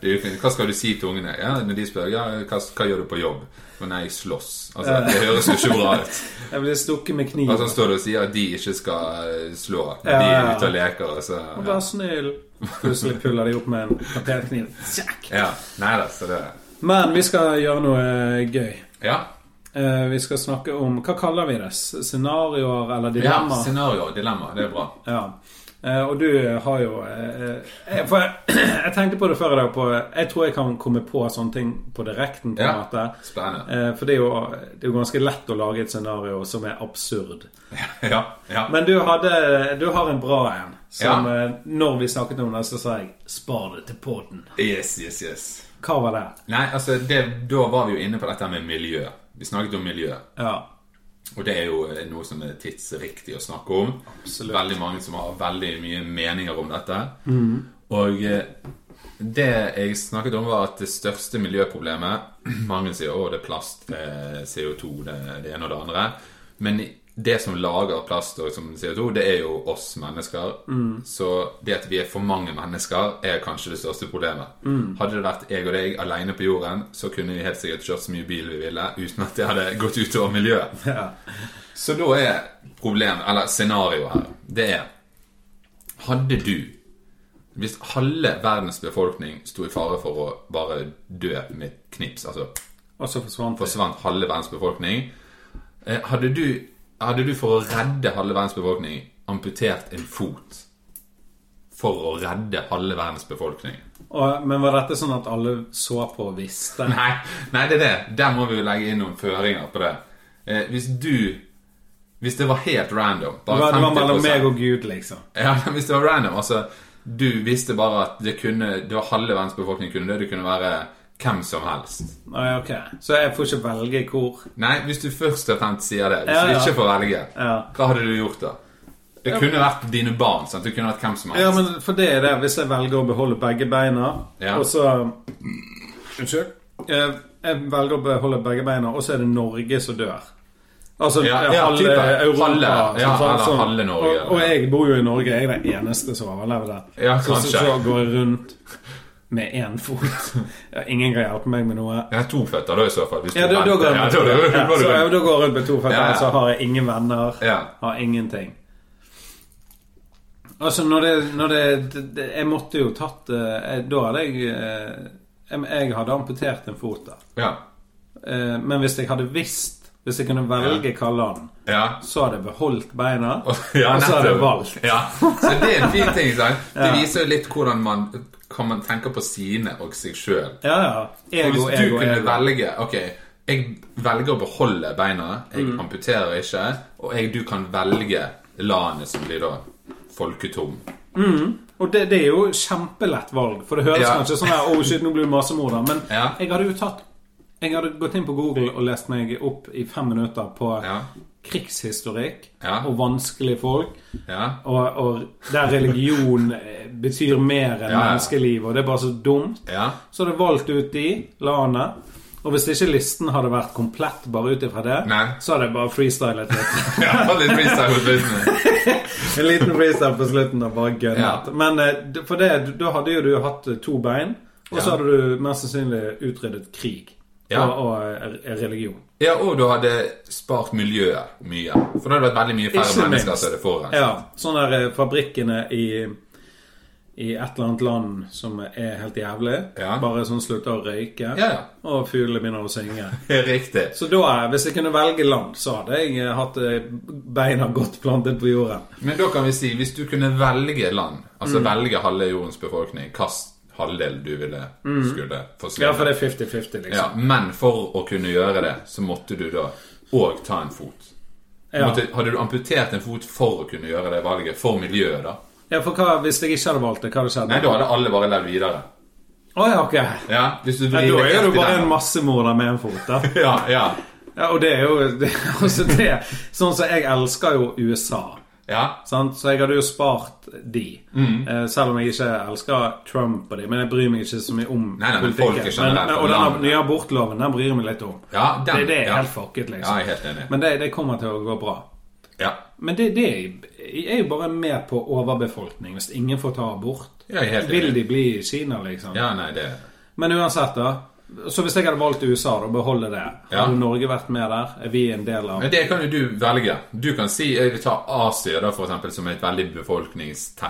S2: det er jo fint. Hva skal du si til ungene? Ja, når de spør ja, hva, hva gjør du på jobb? Og nei, jeg slåss. Altså, det høres jo ikke bra ut.
S1: Jeg blir stukket med
S2: Og
S1: kniv.
S2: så Altså, står det og sier at de ikke skal eh, slå. De
S1: Mm. Ja.
S2: er ute og leker. Og så, ja.
S1: Vær snill. Plutselig puller de opp med en tapetkniv. Tjakk.
S2: Ja, nei da, så det
S1: Men vi skal gjøre noe gøy.
S2: Ja,
S1: Eh, Vi skal snakke om Hva kaller vi det? S- Scenarioer eller
S2: ja
S1: dilemma?
S2: scenario og dilemma, det er bra.
S1: Ja. Eh, Og du har jo eh, eh, For <clears throat> jeg, jeg tenkte på det før i dag. På, jeg tror jeg kan komme på sånne ting på direkten. på en
S2: Ja.
S1: måte
S2: Spennende. <laughs>
S1: Eh, For det er, jo, det er jo ganske lett å lage et scenario som er absurd.
S2: Ja, ja.
S1: Men du, hadde, du har en bra en. Som
S2: Ja.
S1: eh, når vi snakket om det, så sa jeg 'spar det til poden'.
S2: Yes, yes, yes.
S1: Hva var det?
S2: Nei, altså, det, da var vi jo inne på dette med miljø. Vi snakket om miljø,
S1: Ja.
S2: og det er jo eh, noe som er tidsriktig å snakke om.
S1: Absolutt.
S2: Veldig mange som har veldig mye meninger om dette. Og eh, det jeg snakket om, var at det største miljøproblemet <clears throat> Mange sier å, det er plast, det er CO2, det, det ene og det andre. Men det som lager plast og som CO2, det er jo oss mennesker. Så det at vi er for mange mennesker, er kanskje det største problemet. Hadde det vært jeg og deg alene på jorden, så kunne vi helt sikkert kjørt så mye bil vi ville uten at det hadde gått utover miljøet.
S1: ja.
S2: Så da er problemet, eller scenarioet her, det er Hadde du Hvis halve verdens befolkning sto i fare for å bare dø med et knips, altså
S1: Og så forsvant det.
S2: forsvant halve verdens befolkning eh, Hadde du, hadde du for å redde halve verdens befolkning amputert en fot for å redde halve verdens befolkning? <laughs>
S1: Og, men var dette sånn at alle så på og visste?
S2: Nei, nei, det er det. Der må vi jo legge inn noen føringer på det. Eh, hvis du Hvis det var helt random
S1: Det
S2: bare
S1: var, det var
S2: 50%,
S1: mellom meg og Gud, liksom.
S2: Ja, <laughs> men hvis det var random, altså Du visste bare at det kunne Det var halve verdens befolkning kunne dø. Det kunne være hvem som helst.
S1: Nei, ok. Så jeg får ikke velge hvor.
S2: Nei, hvis du først og fremst sier det, hvis
S1: Ja, ja.
S2: du ikke får velge,
S1: Ja.
S2: hva hadde du gjort da? Det kunne vært dine barn. sant? Det kunne vært hvem som helst.
S1: Ja, men for det er det. Hvis jeg velger å beholde begge beina,
S2: Ja.
S1: og så Unnskyld? Jeg, jeg velger å beholde begge beina, og så er det Norge som dør. Altså
S2: Ja,
S1: eh,
S2: ja,
S1: halve
S2: type.
S1: Europa.
S2: Halve,
S1: som
S2: ja,
S1: sagt,
S2: eller
S1: sånn.
S2: halve Norge,
S1: Og, og
S2: eller-
S1: jeg bor jo i Norge. Jeg er den eneste som overlever det.
S2: Ja,
S1: så, så,
S2: kanskje.
S1: så går jeg rundt med én fot. Ja, ingen kan hjelpe meg med noe.
S2: Jeg har to føtter da, i så fall. Hvis
S1: Ja, da, da går jeg
S2: ja,
S1: rundt
S2: da, da, da,
S1: ja,
S2: går
S1: så
S2: du
S1: jeg-
S2: rundt.
S1: da går jeg rundt med to føtter,
S2: Ja, ja.
S1: og så har jeg ingen venner.
S2: Ja.
S1: Har ingenting. Altså, når det, når det, det, det Jeg måtte jo tatt eh, jeg- Da hadde jeg eh, Jeg, jeg hadde amputert en fot der.
S2: Ja.
S1: Eh, Men hvis jeg hadde visst Hvis jeg kunne velge hva land,
S2: ja. <laughs>
S1: så hadde jeg beholdt beina.
S2: Og- <laughs> ja,
S1: og så hadde jeg
S2: nettopp.
S1: valgt.
S2: Ja. Så det er en fin ting.
S1: <laughs>
S2: sant? Det viser jo litt hvordan man, hva man tenker på sine og seg sjøl.
S1: Ja, ja.
S2: Og
S1: Ego,
S2: Hvis du
S1: ego,
S2: kunne
S1: ego.
S2: velge Ok, jeg velger å beholde beina Jeg
S1: Mm.
S2: amputerer ikke Og jeg, du kan velge landet som blir da Folketom
S1: Og det, det er jo kjempelett valg, for det høres
S2: Ja.
S1: kanskje sånn her Oh shit, nå blir det massemorder. Men
S2: Ja.
S1: jeg hadde jo tatt Jeg hadde gått inn på Google og lest meg opp i fem minutter på
S2: Ja.
S1: krigshistorikk
S2: Ja.
S1: og vanskelige folk.
S2: Ja.
S1: Og, og der religion eh, betyr mer enn
S2: Ja, ja.
S1: menneskeliv, og det er bare så dumt.
S2: Ja. <laughs>
S1: Så hadde jeg valgt ut de landene. Og hvis ikke listen hadde vært komplett bare ut ifra det,
S2: Nei.
S1: så hadde jeg bare freestylet litt.
S2: <laughs> ja. Litt freestyle på slutten.
S1: En liten freestyle på slutten og bare
S2: Ja.
S1: gønnet. Men eh, d- for det, d- da hadde jo du hatt eh, to bein, og så
S2: Ja.
S1: hadde du mest sannsynlig utryddet krig
S2: Ja.
S1: og, og eh, er- er religion.
S2: Ja, og du hadde spart miljøet mye. For da hadde det vært veldig mye færre
S1: Ikke
S2: mennesker
S1: minst.
S2: som hadde forurenset.
S1: Ja, sånne der eh, fabrikkene i i et eller annet land som er helt jævlig.
S2: Ja.
S1: Bare sånn slutter å røyke.
S2: Ja, ja.
S1: Og fuglene begynner å synge.
S2: Riktig.
S1: Så da, er- hvis jeg kunne velge land, så hadde jeg eh, hatt eh, beina godt plantet på jorden.
S2: Men da kan vi si, hvis du kunne velge land,
S1: Mm.
S2: altså velge halve jordens befolkning, hvilken halvdel du ville skulle forsvinne
S1: Mm. Ja, for det er 50-50, liksom.
S2: Ja, men for å kunne gjøre det, så måtte du da òg ta en fot. Du
S1: Ja.
S2: Måtte, hadde du amputert en fot for å kunne gjøre det valget, for miljøet, da?
S1: Ja, for hva, hvis jeg ikke hadde valgt det, hva hadde skjedd?
S2: Nei, da hadde alle bare levd videre.
S1: Å ja, ok. Ja,
S2: Ja, hvis du
S1: da
S2: vrir det
S1: er
S2: helt
S1: du
S2: i
S1: bare
S2: den.
S1: en massemorder med en fot, da.
S2: Ja, ja,
S1: Ja, og det er jo <laughs> det, altså det, Sånn som jeg elsker jo USA.
S2: ja.
S1: Sant? Så jeg hadde jo spart de.
S2: Mm.
S1: Eh, selv om jeg ikke elsker Trump og de, men jeg bryr meg ikke så mye om
S2: Nei, nei, men folk er generelt
S1: Men- men- og
S2: for
S1: denne
S2: landet.
S1: nye abortloven, den bryr jeg meg litt om.
S2: ja den,
S1: det, det er
S2: ja.
S1: helt fucket, liksom.
S2: Ja, jeg er helt enig.
S1: Men det, det kommer til å gå bra.
S2: Ja,
S1: Men det, det er jo bare med på overbefolkning. Hvis ingen får ta abort,
S2: Ja, jeg er helt
S1: vil
S2: enig.
S1: de bli i Kina, liksom.
S2: ja nei, det
S1: Men uansett, da. Så hvis jeg hadde valgt USA og beholde det,
S2: Ja.
S1: hadde Norge vært med der? Er vi en del av
S2: Men det kan jo du velge. Du kan si jeg vil ta Asia da, for eksempel, som er et veldig befolkningstett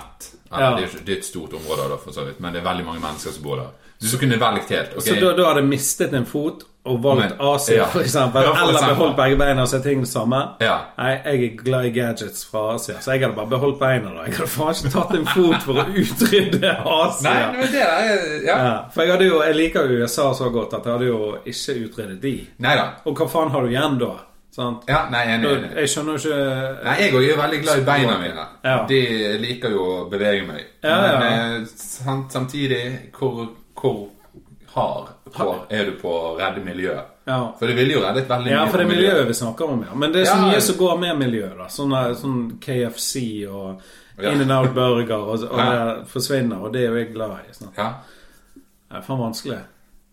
S2: Eller,
S1: Ja.
S2: det, er, jo ikke- det er et stort område, da, for så vidt, men det er veldig mange mennesker som bor der. Du så kunne valgt helt. ok?
S1: Så da, da hadde jeg mistet en fot og valgt
S2: Men-
S1: Asia,
S2: ja.
S1: for eksempel?
S2: Ja, for
S1: eller
S2: eksempel.
S1: beholdt begge beina og sett ting det samme?
S2: Ja.
S1: Nei, jeg er glad i gadgets fra Asia, så jeg hadde bare beholdt beina. da Jeg hadde faen ikke tatt en fot for å utrydde Asia.
S2: Nei, men det er Ja.
S1: Ja, for jeg, hadde jo, jeg liker jo USA så godt at jeg hadde jo ikke utryddet de.
S2: Nei da.
S1: Og hva faen har du igjen da? Sant?
S2: Ja, nei, enig. enig.
S1: Jeg skjønner jo ikke
S2: Nei, jeg òg er veldig glad i beina mine.
S1: Ja.
S2: De liker jo å bevege meg.
S1: Ja, ja.
S2: Men eh, sam- samtidig hvor, hvor hard hvor er du på å redde miljøet?
S1: ja.
S2: For det ville jo reddet veldig
S1: ja,
S2: mye
S1: for det
S2: på
S1: er miljøet vi snakker om, ja. Men det er
S2: Ja.
S1: så mye som går med miljøet, da. Sånn, eh, sånn KFC og
S2: Ja.
S1: In and Out Burger, og, og
S2: Ja.
S1: det forsvinner, og det er jo jeg glad i. Sånn.
S2: Ja.
S1: Det er faen vanskelig.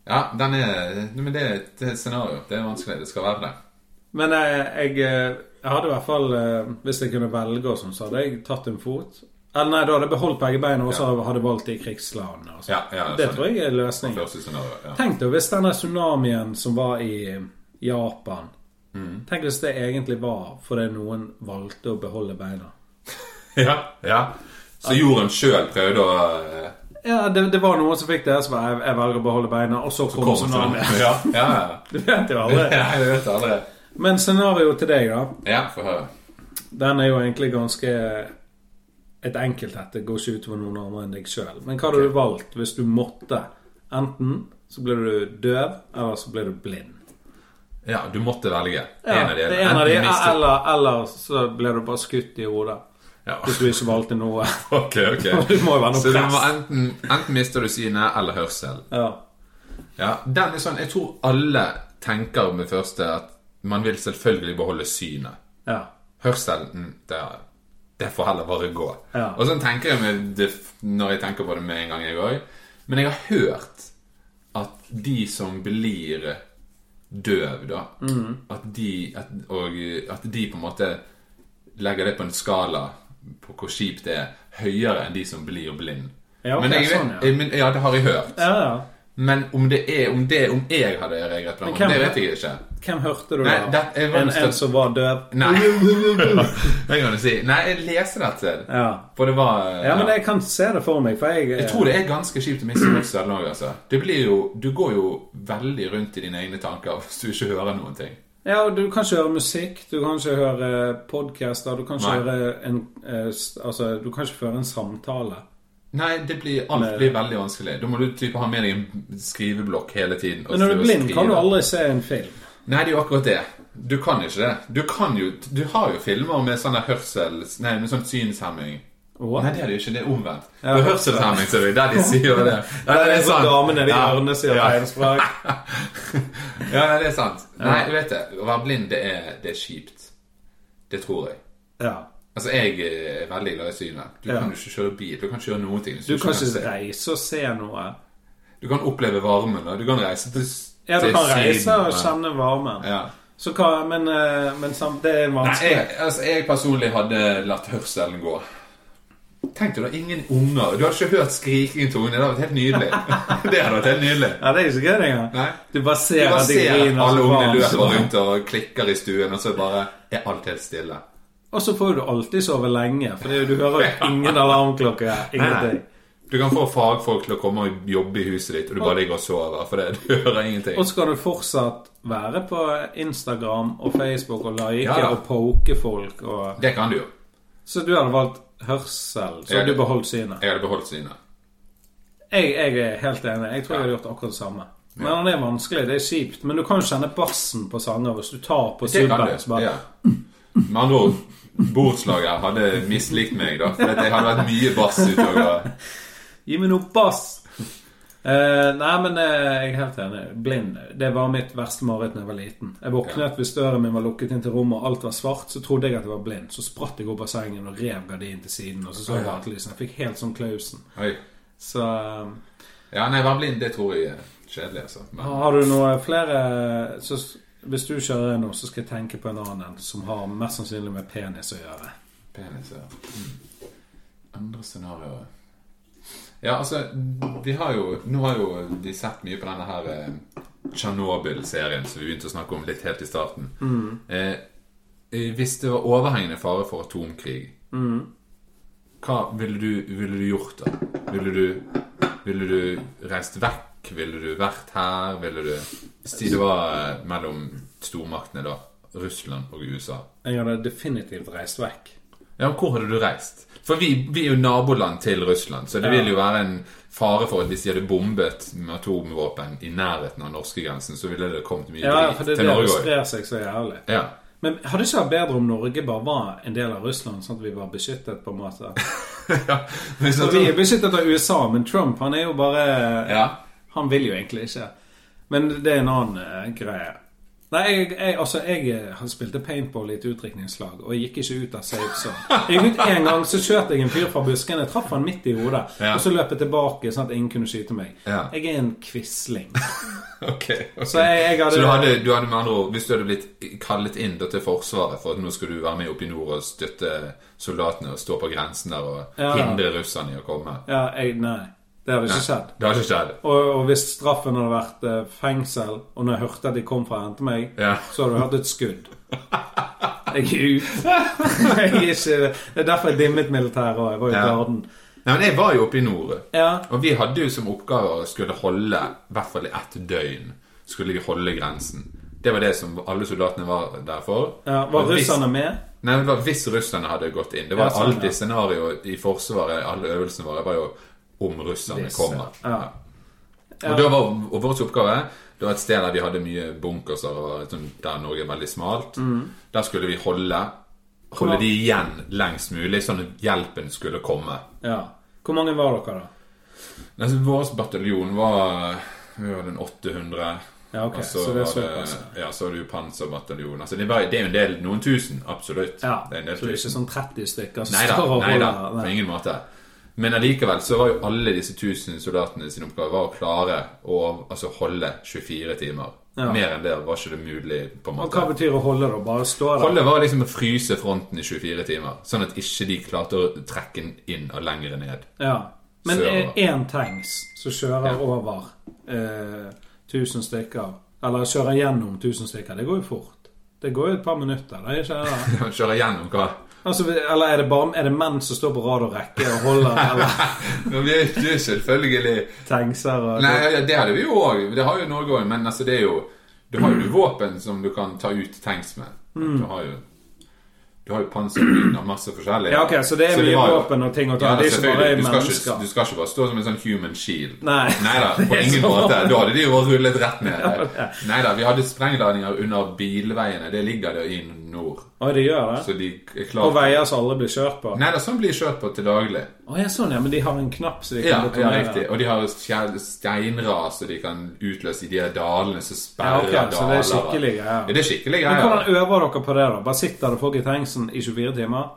S2: ja, den er Nei, Men det er et det er et scenario. Det er vanskelig. Det skal være det.
S1: Men jeg, jeg, eh, jeg hadde i hvert fall eh, Hvis jeg kunne velge, og sånn, så hadde jeg tatt en fot. Eller nei, da hadde jeg beholdt begge beina, og så hadde jeg valgt de krigslandene. og sånn.
S2: Ja, ja,
S1: det
S2: sånn.
S1: tror jeg er løsningen.
S2: Første scenario. Ja. <laughs>
S1: Tenk deg hvis denne tsunamien som var i Japan
S2: Mm.
S1: Tenk hvis det egentlig var fordi noen valgte å beholde beina.
S2: ja, ja. Så jorden sjøl prøvde å eh,
S1: Ja, det, det var noen som fikk det, så var jeg, jeg velger å beholde beina, og så kom
S2: komme til
S1: tsunamien. <laughs>
S2: noe. Ja, ja, ja.
S1: Du vet jo aldri.
S2: <laughs> ja. Jeg vet aldri.
S1: Men scenarioet til deg, da.
S2: Ja, få høre.
S1: Den er jo egentlig ganske et enkelt et. Det går ikke utover noen andre enn deg sjøl. Men hva hadde du valgt hvis du måtte? Enten så ble du døv, eller så ble du blind.
S2: Ja, du måtte velge.
S1: Ja,
S2: en av de.
S1: det er en av de,
S2: Enten mistet-
S1: eller, eller så ble du bare skutt i hodet.
S2: Ja. <laughs>
S1: Hvis du ikke valgte noe. <laughs>
S2: Ok, ok.
S1: Det må jo være noe
S2: Så det
S1: press.
S2: må enten, enten mister du synet eller hørsel.
S1: Ja.
S2: Ja, den er sånn, Jeg tror alle tenker med første at man vil selvfølgelig beholde synet.
S1: ja.
S2: Hørselen mm, det, det får heller bare gå.
S1: Ja.
S2: Og sånn tenker jeg med det, når jeg tenker på det med en gang, jeg òg. Men jeg har hørt at de som blir døv, da
S1: Mm.
S2: at, de, at, og, at de på en måte legger det på en skala på hvor kjipt det er, høyere enn de som blir blind.
S1: Ja, ok,
S2: men jeg, vet-
S1: sånn, ja.
S2: jeg, men, ja, det har jeg hørt.
S1: ja, ja.
S2: Men om det er om, det, om jeg hadde reagert på
S1: Men
S2: det,
S1: hvem-
S2: det vet jeg ikke.
S1: Hvem hørte du
S2: Nei,
S1: da?
S2: det er
S1: en,
S2: vanskelig.
S1: en som var døv? <laughs>
S2: Nei. det kan du si. Nei, jeg leste det et sted.
S1: Ja.
S2: For det var
S1: ja, men jeg kan se det for meg, for jeg,
S2: Jeg tror det er ganske kjipt å miste hørselen òg, altså. Det blir jo, du går jo veldig rundt i dine egne tanker <laughs> hvis du ikke hører noen ting.
S1: Ja, og du kan ikke høre musikk, du kan ikke høre eh, podcaster, du kan ikke
S2: Nei.
S1: høre en eh, s- Altså, du kan ikke føre en samtale.
S2: Altså, Nei, det blir, alt blir veldig vanskelig. Da må du typ ha med deg en skriveblokk hele tiden. og
S1: Men når du er
S2: skrive-
S1: blind, kan du
S2: skrive.
S1: aldri se en film.
S2: Nei, det er jo akkurat det. Du kan ikke det. Du kan jo Du har jo filmer med sånn der hørsels... Nei, med sånn synshemming.
S1: Åh.
S2: Nei, det er det jo ikke. Det er omvendt.
S1: Ja.
S2: På hørselshemming, ser du. Der de sier
S1: <laughs>
S2: det. Nei,
S1: Det er sånn damene i
S2: Ja.
S1: ørene sier
S2: ja.
S1: beinsprak.
S2: <laughs> ja, nei, det er sant. Nei, du vet det. Å være blind, det er, det er kjipt. Det tror jeg.
S1: <laughs> Ja.
S2: Altså, jeg er veldig glad i synet. Du
S1: Ja.
S2: kan jo ikke kjøre bil. Du kan ikke gjøre noen ting. hvis
S1: Du kan
S2: se.
S1: ikke reise og se noe.
S2: Du kan oppleve varmen. Da. Du kan reise til
S1: Ja, du
S2: til
S1: kan reise
S2: Syden,
S1: og
S2: da.
S1: kjenne varmen.
S2: Ja.
S1: Så hva, men, eh, men sam, det er
S2: Nei,
S1: vanskelig.
S2: jeg, altså, jeg personlig hadde latt hørselen gå. Tenk deg da, ingen unger. Du har ikke hørt skriking i tungene. Det hadde vært helt
S1: <laughs>
S2: nydelig. det hadde vært helt nydelig.
S1: Ja, det er ikke så gøy det engang.
S2: Nei.
S1: Du bare ser
S2: Jeg bare
S1: at de
S2: ser
S1: griner.
S2: alle
S1: så
S2: ungene
S1: barn, så
S2: løper
S1: barn.
S2: rundt og klikker i stuen, og så bare er alt helt stille.
S1: Og så får du alltid sove lenge, for det er jo-
S2: <laughs>
S1: du hører jo ingen alarmklokke. Ingenting.
S2: Du kan få fagfolk til å komme og jobbe i huset ditt, og du bare ligger og sover, for det, <laughs> du hører ingenting.
S1: Og så kan du fortsatt være på Instagram og Facebook og like
S2: Ja, ja.
S1: og poke folk. Og...
S2: Det kan du jo.
S1: Så du hadde valgt hørsel, så
S2: Ja,
S1: du
S2: det-
S1: beholdt synet.
S2: Jeg hadde beholdt synet.
S1: Jeg, jeg er helt enig. Jeg tror jeg hadde gjort akkurat det samme. Men det er vanskelig. Det er kjipt. Men du kan jo kjenne bassen på sanger hvis du tar på
S2: Det kan
S1: subben. så
S2: du.
S1: bare-
S2: Ja. Med andre ord, borettslaget hadde mislikt meg, da. For at jeg hadde vært mye bass utover.
S1: Gi meg noe bass! Eh, nei, men eh, jeg er helt enig. Blind. Det var mitt verste mareritt da jeg var liten. Jeg våknet hvis døren min var lukket inn til rommet og alt var svart, så trodde jeg at jeg var blind. Så spratt jeg opp av sengen og rev gardinen til siden, og så så jeg
S2: Ja.
S1: gatelysene. Jeg fikk helt sånn Klausen.
S2: Oi.
S1: Så eh,
S2: Ja, nei, være blind, det tror jeg er kjedelig, altså. Men,
S1: har du noe flere eh, så, s- Hvis du kjører nå, så skal jeg tenke på en annen en som har mest sannsynlig med penis å gjøre.
S2: penis, ja. Mm. Andre scenarioer Ja, altså, vi har jo Nå har jo de sett mye på denne her eh, Tsjernobyl-serien som vi begynte å snakke om litt helt i starten. Eh, eh, hvis det var overhengende fare for atomkrig, hva ville du, ville du gjort da? Ville du, ville du reist vekk? Ville du vært her? Ville du Hvis det var eh, mellom stormaktene, da, Russland og USA
S1: Jeg hadde definitivt reist vekk.
S2: ja, men hvor hadde du reist? For vi, vi er jo naboland til Russland, så det vil jo være en fare for at hvis de hadde bombet med atomvåpen i nærheten av norskegrensen, så ville det kommet mye
S1: Ja, for
S2: drit til
S1: det er det som
S2: Norge òg.
S1: sprer seg så jævlig.
S2: Ja. <laughs>
S1: Men hadde det ikke vært bedre om Norge bare var en del av Russland, sånn at vi var beskyttet på en
S2: <laughs>
S1: måte?
S2: ja. Men så-
S1: Så vi er beskyttet av USA, men Trump han er jo bare
S2: ja.
S1: Han vil jo egentlig ikke. Men det er en annen eh, greie. Nei, jeg, jeg, altså, jeg eh, spilte paintball i et utdrikningslag og jeg gikk ikke ut av safe zone. Jeg gikk ut én gang, så skjøt jeg en fyr fra busken. Jeg traff han midt i hodet.
S2: Ja.
S1: Og så løp jeg tilbake sånn at ingen kunne skyte meg.
S2: Ja.
S1: Jeg er en quisling.
S2: Ok. ok.
S1: Så jeg, jeg hadde
S2: Så du hadde, du hadde med andre ord Hvis du hadde blitt kallet inn da til Forsvaret for at nå skal du være med opp i nord og støtte soldatene og stå på grensen der og
S1: Ja.
S2: hindre russerne i å komme
S1: Ja, jeg, nei. Det hadde ikke skjedd.
S2: Det har ikke skjedd.
S1: Og, og hvis straffen hadde vært eh, fengsel, og når jeg hørte at de kom for å hente meg,
S2: Ja.
S1: så hadde du hørt et skudd. Jeg er ute. <laughs> Jeg er ikke, det er derfor jeg dimmet militæret òg. Jeg var i
S2: Ja.
S1: garden.
S2: Nei, men jeg var jo oppe i nord.
S1: Ja.
S2: Og vi hadde jo som oppgave å skulle holde, i hvert fall i ett døgn, skulle vi holde grensen. Det var det som alle soldatene var der for.
S1: ja. Var
S2: Og hvis-
S1: russerne med?
S2: Nei, det var hvis russerne hadde gått inn. Det var
S1: Ja, sånn,
S2: alltid
S1: ja.
S2: scenario i Forsvaret, alle øvelsene våre, var jo om russerne
S1: Hvis,
S2: kommer.
S1: ja.
S2: Og da var og vår oppgave det var et sted der vi hadde mye bunkers, og det var sånn- der Norge er veldig smalt.
S1: Mm.
S2: Der skulle vi holde, holde de igjen lengst mulig, sånn at hjelpen skulle komme.
S1: Ja. Hvor mange var dere, da?
S2: Nei, så Vår bataljon var Vi var den 800.
S1: Ja, ok,
S2: og
S1: så det er
S2: var
S1: såpass,
S2: Ja, så er det jo panserbataljon. Altså, det, var, det er jo en del, noen tusen, absolutt.
S1: Ja.
S2: Det er en del
S1: så det er
S2: tusen.
S1: ikke sånn 30 stykker som
S2: Nei da,
S1: står og
S2: nei da,
S1: holder
S2: på
S1: nei.
S2: ingen måte. Men allikevel så var jo alle disse tusen soldatene sin oppgave var å klare å altså, holde 24 timer.
S1: Ja.
S2: Mer enn det var ikke det mulig, på en
S1: Og
S2: måte.
S1: hva betyr å holde, da? Bare stå der?
S2: Holde var liksom å fryse fronten i 24 timer, sånn at ikke de klarte å trekke den inn og lenger ned. <laughs>
S1: Ja. Men
S2: Sørover.
S1: én tanks som kjører over eh, 1000 stykker, eller kjører gjennom 1000 stykker, det går jo fort. Det går jo et par minutter. Det er ikke <laughs> det.
S2: Kjøre gjennom hva?
S1: Altså, eller er det, bare, er det menn som står på rad og rekke og holder
S2: <laughs>
S1: eller
S2: Nå blir det jo selvfølgelig
S1: tankser og
S2: Nei, ja, det hadde vi jo òg. Det har jo Norge òg. Men altså, det er jo Du har
S1: Mm.
S2: jo våpen som du kan ta ut tanks med. Du har jo Du har jo panserbiler og masse forskjellig.
S1: Ja, ok, så det er mye
S2: var jo-
S1: våpen og ting å
S2: Ja,
S1: ta. det er ikke bare
S2: selvfølgelig. Du skal ikke,
S1: mennesker.
S2: du skal ikke bare stå som en sånn human shield.
S1: Nei. <laughs>
S2: Neida,
S1: Det
S2: på
S1: er
S2: ingen
S1: så-
S2: måte. Da hadde de jo bare rullet rett ned.
S1: det er-
S2: Neida, vi hadde sprengladninger under bilveiene. Det ligger det i nord.
S1: Å, det gjør det?
S2: Så de er
S1: På
S2: klart
S1: veier som alle blir kjørt på?
S2: Nei, det er sånn blir kjørt på til daglig.
S1: Å, ja, sånn, ja. Men de har en knapp så
S2: Ja,
S1: de kan
S2: ja,
S1: detonere?
S2: riktig. Og de har skjær- steinras som de kan utløse i de her dalene som
S1: Ja,
S2: sperrer
S1: ok, så det
S2: daler.
S1: er skikkelig
S2: Ja,
S1: greier.
S2: det er skikkelig
S1: Men
S2: greier.
S1: hvordan øver dere på det, da? Bare sitter det folk i tanksen i 24 timer?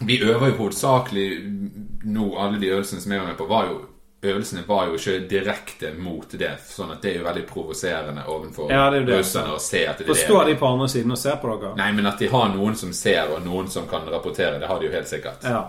S2: Vi øver jo hovedsakelig nå Alle de øvelsene som jeg var med på, var jo Øvelsene var jo ikke direkte mot det, sånn at det er jo veldig provoserende overfor
S1: Ja, det er jo det.
S2: russerne å se at det er
S1: Forstår de på andre siden og ser på dere?
S2: Nei, men at de har noen som ser, og noen som kan rapportere, det har de jo helt sikkert.
S1: Ja.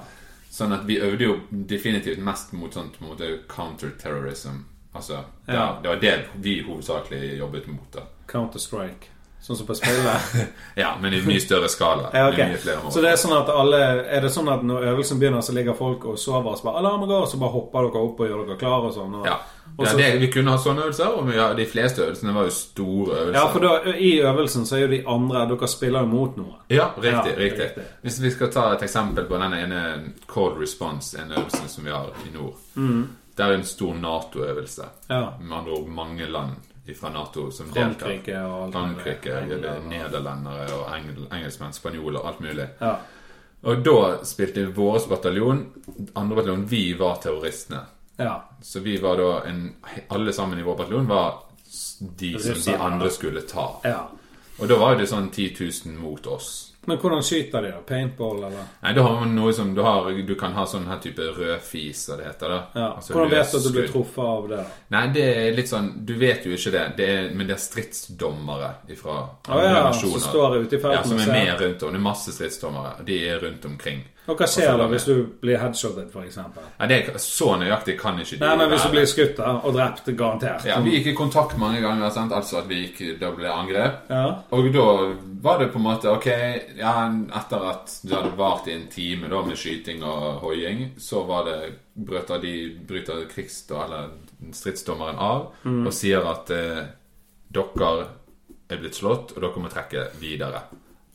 S2: Sånn at vi øvde jo definitivt mest mot sånt mot eh, counterterrorism. Altså, det,
S1: Ja.
S2: det var det vi hovedsakelig jobbet mot, da.
S1: Counter-Strike. Sånn som
S2: <laughs>
S1: på spillet.
S2: Ja, men i
S1: <laughs>
S2: mye større skala.
S1: Ja,
S2: med
S1: ok.
S2: mye flere mål.
S1: Så det er sånn at alle Er det sånn at når øvelsen begynner, så ligger folk og sover og så bare Alarmen går, og så bare hopper dere opp og gjør dere klar og sånn? Og...
S2: Ja.
S1: Og
S2: ja
S1: så-
S2: det, vi kunne ha sånne øvelser, og vi, ja, de fleste øvelsene var jo store øvelser.
S1: Ja, for da, i øvelsen så er jo de andre Dere spiller jo mot noen.
S2: Ja, riktig,
S1: Ja,
S2: riktig.
S1: riktig.
S2: Hvis vi skal ta et eksempel på den ene Cold Response, en øvelse som vi har i nord.
S1: Mm.
S2: Det er en stor Nato-øvelse.
S1: Ja.
S2: Med andre ord mange land fra Nato som deltar.
S1: Frankrike og alt
S2: Frankrike,
S1: mulig.
S2: eller eh, nederlendere og engel, engelskmenn, spanjoler, alt mulig.
S1: Ja.
S2: Og da spilte vår bataljon, andre bataljon, vi var terroristene.
S1: ja.
S2: Så vi var da en Alle sammen i vår bataljon var s- de som de
S1: Russerne.
S2: andre skulle ta.
S1: ja.
S2: Og da var jo det sånn 10 000 mot oss.
S1: Men hvordan skyter de, da? Paintball, eller?
S2: Nei, du har man noe som du har Du kan ha sånn her type rød fis, som det heter. da
S1: Ja.
S2: Altså
S1: Hvordan vet du at du
S2: løsskudd.
S1: blir truffet av det? da?
S2: Nei, det er litt sånn Du vet jo ikke det, det er, men det er stridsdommere ifra
S1: Å ja,
S2: andre
S1: så
S2: nasjoner.
S1: står jeg ute i
S2: ja,
S1: felten
S2: som
S1: og
S2: er med
S1: ser.
S2: rundt om. Det er masse stridsdommere, og de er rundt omkring.
S1: Og hva skjer da hvis du blir headshotet, f.eks.?
S2: Ja, det er, så nøyaktig kan ikke de
S1: Nei, men hvis
S2: være.
S1: du blir skutt da, og drept, garantert.
S2: ja, Vi gikk i kontakt mange ganger, sant? altså at vi gikk, da ble det angrep.
S1: Ja.
S2: Og da var det på en måte Ok, ja, etter at det hadde vart i en time da med skyting og hoiing, så var det brøter de bryter krigs... eller stridsdommeren av
S1: Mm.
S2: og sier at eh, dere er blitt slått, og dere må trekke videre.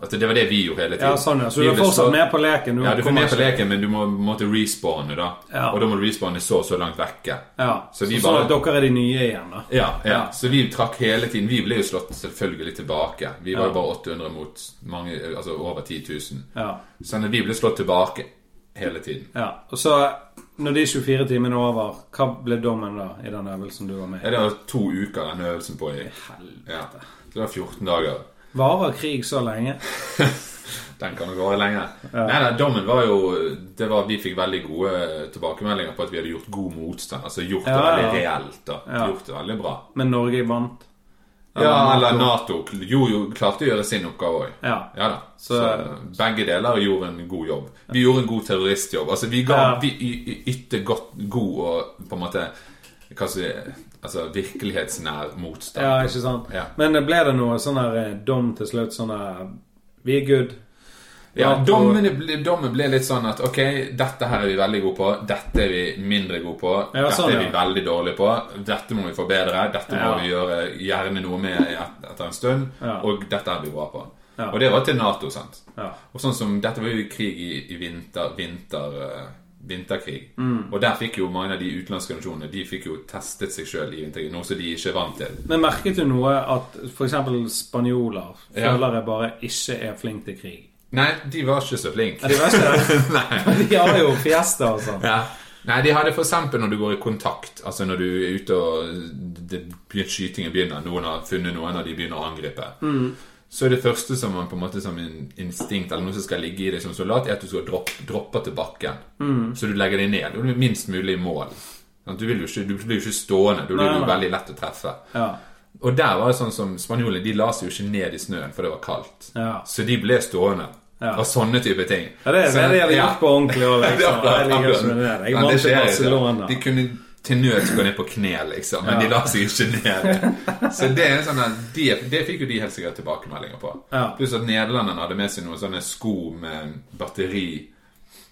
S2: Altså, det var det vi gjorde hele tiden.
S1: Ja, sånn, ja. Så
S2: Vi
S1: du er
S2: ble
S1: fortsatt
S2: slått-
S1: med på leken?
S2: Ja, du får
S1: kommer
S2: med på
S1: ikke-
S2: leken, men du må måtte respawne, da.
S1: Ja.
S2: Og da må du respawne så og så langt vekke.
S1: Ja.
S2: Så
S1: Så
S2: vi bare-
S1: sånn at dere er de nye igjen, da.
S2: Ja, ja. Så vi trakk hele tiden. Vi ble jo slått selvfølgelig tilbake. Vi var jo bare 800 mot mange, altså over 10 000.
S1: Ja.
S2: Sånn at vi ble slått tilbake hele tiden.
S1: ja. Og så, når de 24 timene er over, hva ble dommen da i den øvelsen du var med
S2: Ja,
S1: i?
S2: det var to uker den øvelsen pågikk. Ja. Så det var 14 dager.
S1: Varer krig så lenge?
S2: Den kan jo vare lenge. Nei, nei, dommen var jo det var, Vi fikk veldig gode tilbakemeldinger på at vi hadde gjort god motstand. Altså gjort det
S1: Ja, ja.
S2: veldig reelt. da
S1: Ja.
S2: Gjort det veldig bra.
S1: Men Norge vant?
S2: Ja, eller Nato jo, jo, klarte å gjøre sin oppgave òg.
S1: Ja.
S2: Ja da. Så,
S1: Så-
S2: begge deler gjorde en god jobb. Vi gjorde en god terroristjobb. Altså, vi, ga,
S1: Ja.
S2: vi y- y- ytte godt, god og på en måte hva skal jeg si, altså, virkelighetsnær motstand.
S1: Ja, ikke sant?
S2: Ja.
S1: Men ble det noe sånn her eh, dom til slutt? Sånn her Vi er good.
S2: Ja,
S1: Nato-
S2: dommen, ble, dommen ble litt sånn at ok, dette her er vi veldig gode på, dette er vi mindre gode på,
S1: Ja,
S2: dette
S1: sånn,
S2: er vi
S1: ja.
S2: veldig dårlige på, dette må vi forbedre, dette
S1: Ja.
S2: må vi gjøre gjerne noe med et, etter en stund,
S1: Ja.
S2: og dette er vi bra på.
S1: Ja.
S2: Og det var til Nato, sant?
S1: Ja.
S2: Og sånn som, Dette var jo krig i, i vinter, vinter, eh, vinterkrig. Og der fikk jo mange av de utenlandske nasjonene De fikk jo testet seg sjøl i vinterkrig, noe som de ikke er vant til.
S1: Men merket du noe at f.eks. spanjoler
S2: Ja.
S1: føler jeg bare ikke er flink til krig?
S2: Nei, de var ikke så flinke.
S1: De var ikke det.
S2: <laughs> Nei.
S1: <laughs> De har jo fiesta og sånn.
S2: Ja. Nei, de hadde for eksempel når du går i kontakt, altså når du er ute og det, begynner- skytingen begynner, noen har funnet noen og de begynner å angripe,
S1: Mm.
S2: så er det første som man på en måte som en instinkt eller noe som skal ligge i deg som soldat, er at du skal droppe, droppe til bakken.
S1: Mm.
S2: Så du legger deg ned. Du blir minst mulig i mål. Sant? Du, vil jo ikke, du blir jo ikke stående. Da blir
S1: Nei,
S2: du
S1: nei.
S2: veldig lett å treffe.
S1: Ja.
S2: Og der var det sånn som spanjolene, de la seg jo ikke ned i snøen, for det var kaldt.
S1: Ja.
S2: Så de ble stående.
S1: Ja.
S2: Og sånne type ting.
S1: Ja, det er
S2: Så-
S1: det de hadde
S2: ja.
S1: gjort på ordentlig òg,
S2: Ja, <laughs> det
S1: liksom.
S2: var
S1: Jeg liker ikke med det. Jeg
S2: Men
S1: vant til
S2: skjer ikke.
S1: Barcelona.
S2: De kunne til nød gå ned på kne, liksom, men de la seg ikke ned. Så det er sånn at de, det fikk jo de helt sikkert tilbakemeldinger på.
S1: Ja.
S2: Pluss at nederlenderne hadde med seg noen sånne sko med batteri,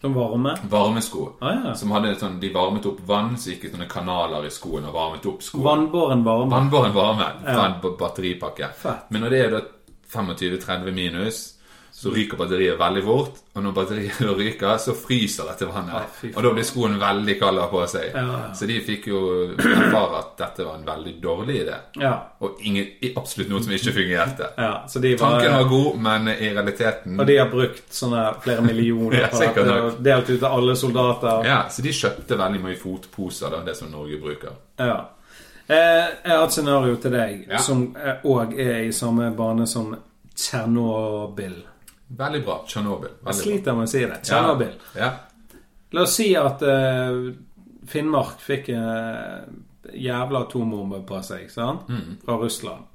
S1: De varme.
S2: varmesko,
S1: Ah, ja.
S2: som hadde sånn, de varmet opp vann, så gikk det sånne kanaler i skoen og varmet opp skoen.
S1: Vannbåren varme.
S2: Vannbåren varme fra en ba- batteripakke.
S1: Fett.
S2: Men når det er da 25-30 minus, så, Så ryker batteriet veldig fort, og når batteriet <laughs> da ryker, så fryser dette
S1: Nei,
S2: vannet.
S1: Ah, fy faen.
S2: og da blir skoen veldig kald av på seg.
S1: Ja, ja.
S2: Så de fikk jo erfare at dette var en veldig dårlig idé.
S1: Ja.
S2: Og ingen, absolutt noe som ikke fungerte.
S1: ja. Så de var
S2: Tanken var god, men i realiteten
S1: Og de har brukt sånne flere
S2: <laughs>
S1: millioner
S2: Ja,
S1: på dette,
S2: sikkert nok.
S1: og delt ut til alle soldater.
S2: Ja, så de kjøpte veldig mye fotposer, da, det som Norge bruker.
S1: Ja. Eh, jeg har et scenario til deg
S2: Ja.
S1: som òg er i samme bane som Tsjernobyl.
S2: Veldig bra. Tsjernobyl. Veldig
S1: Jeg
S2: bra.
S1: sliter med å si det.
S2: Ja.
S1: Tsjernobyl.
S2: Ja.
S1: La oss si at eh, Finnmark fikk en jævla atombombe på seg, sant?
S2: Mm.
S1: Fra Russland.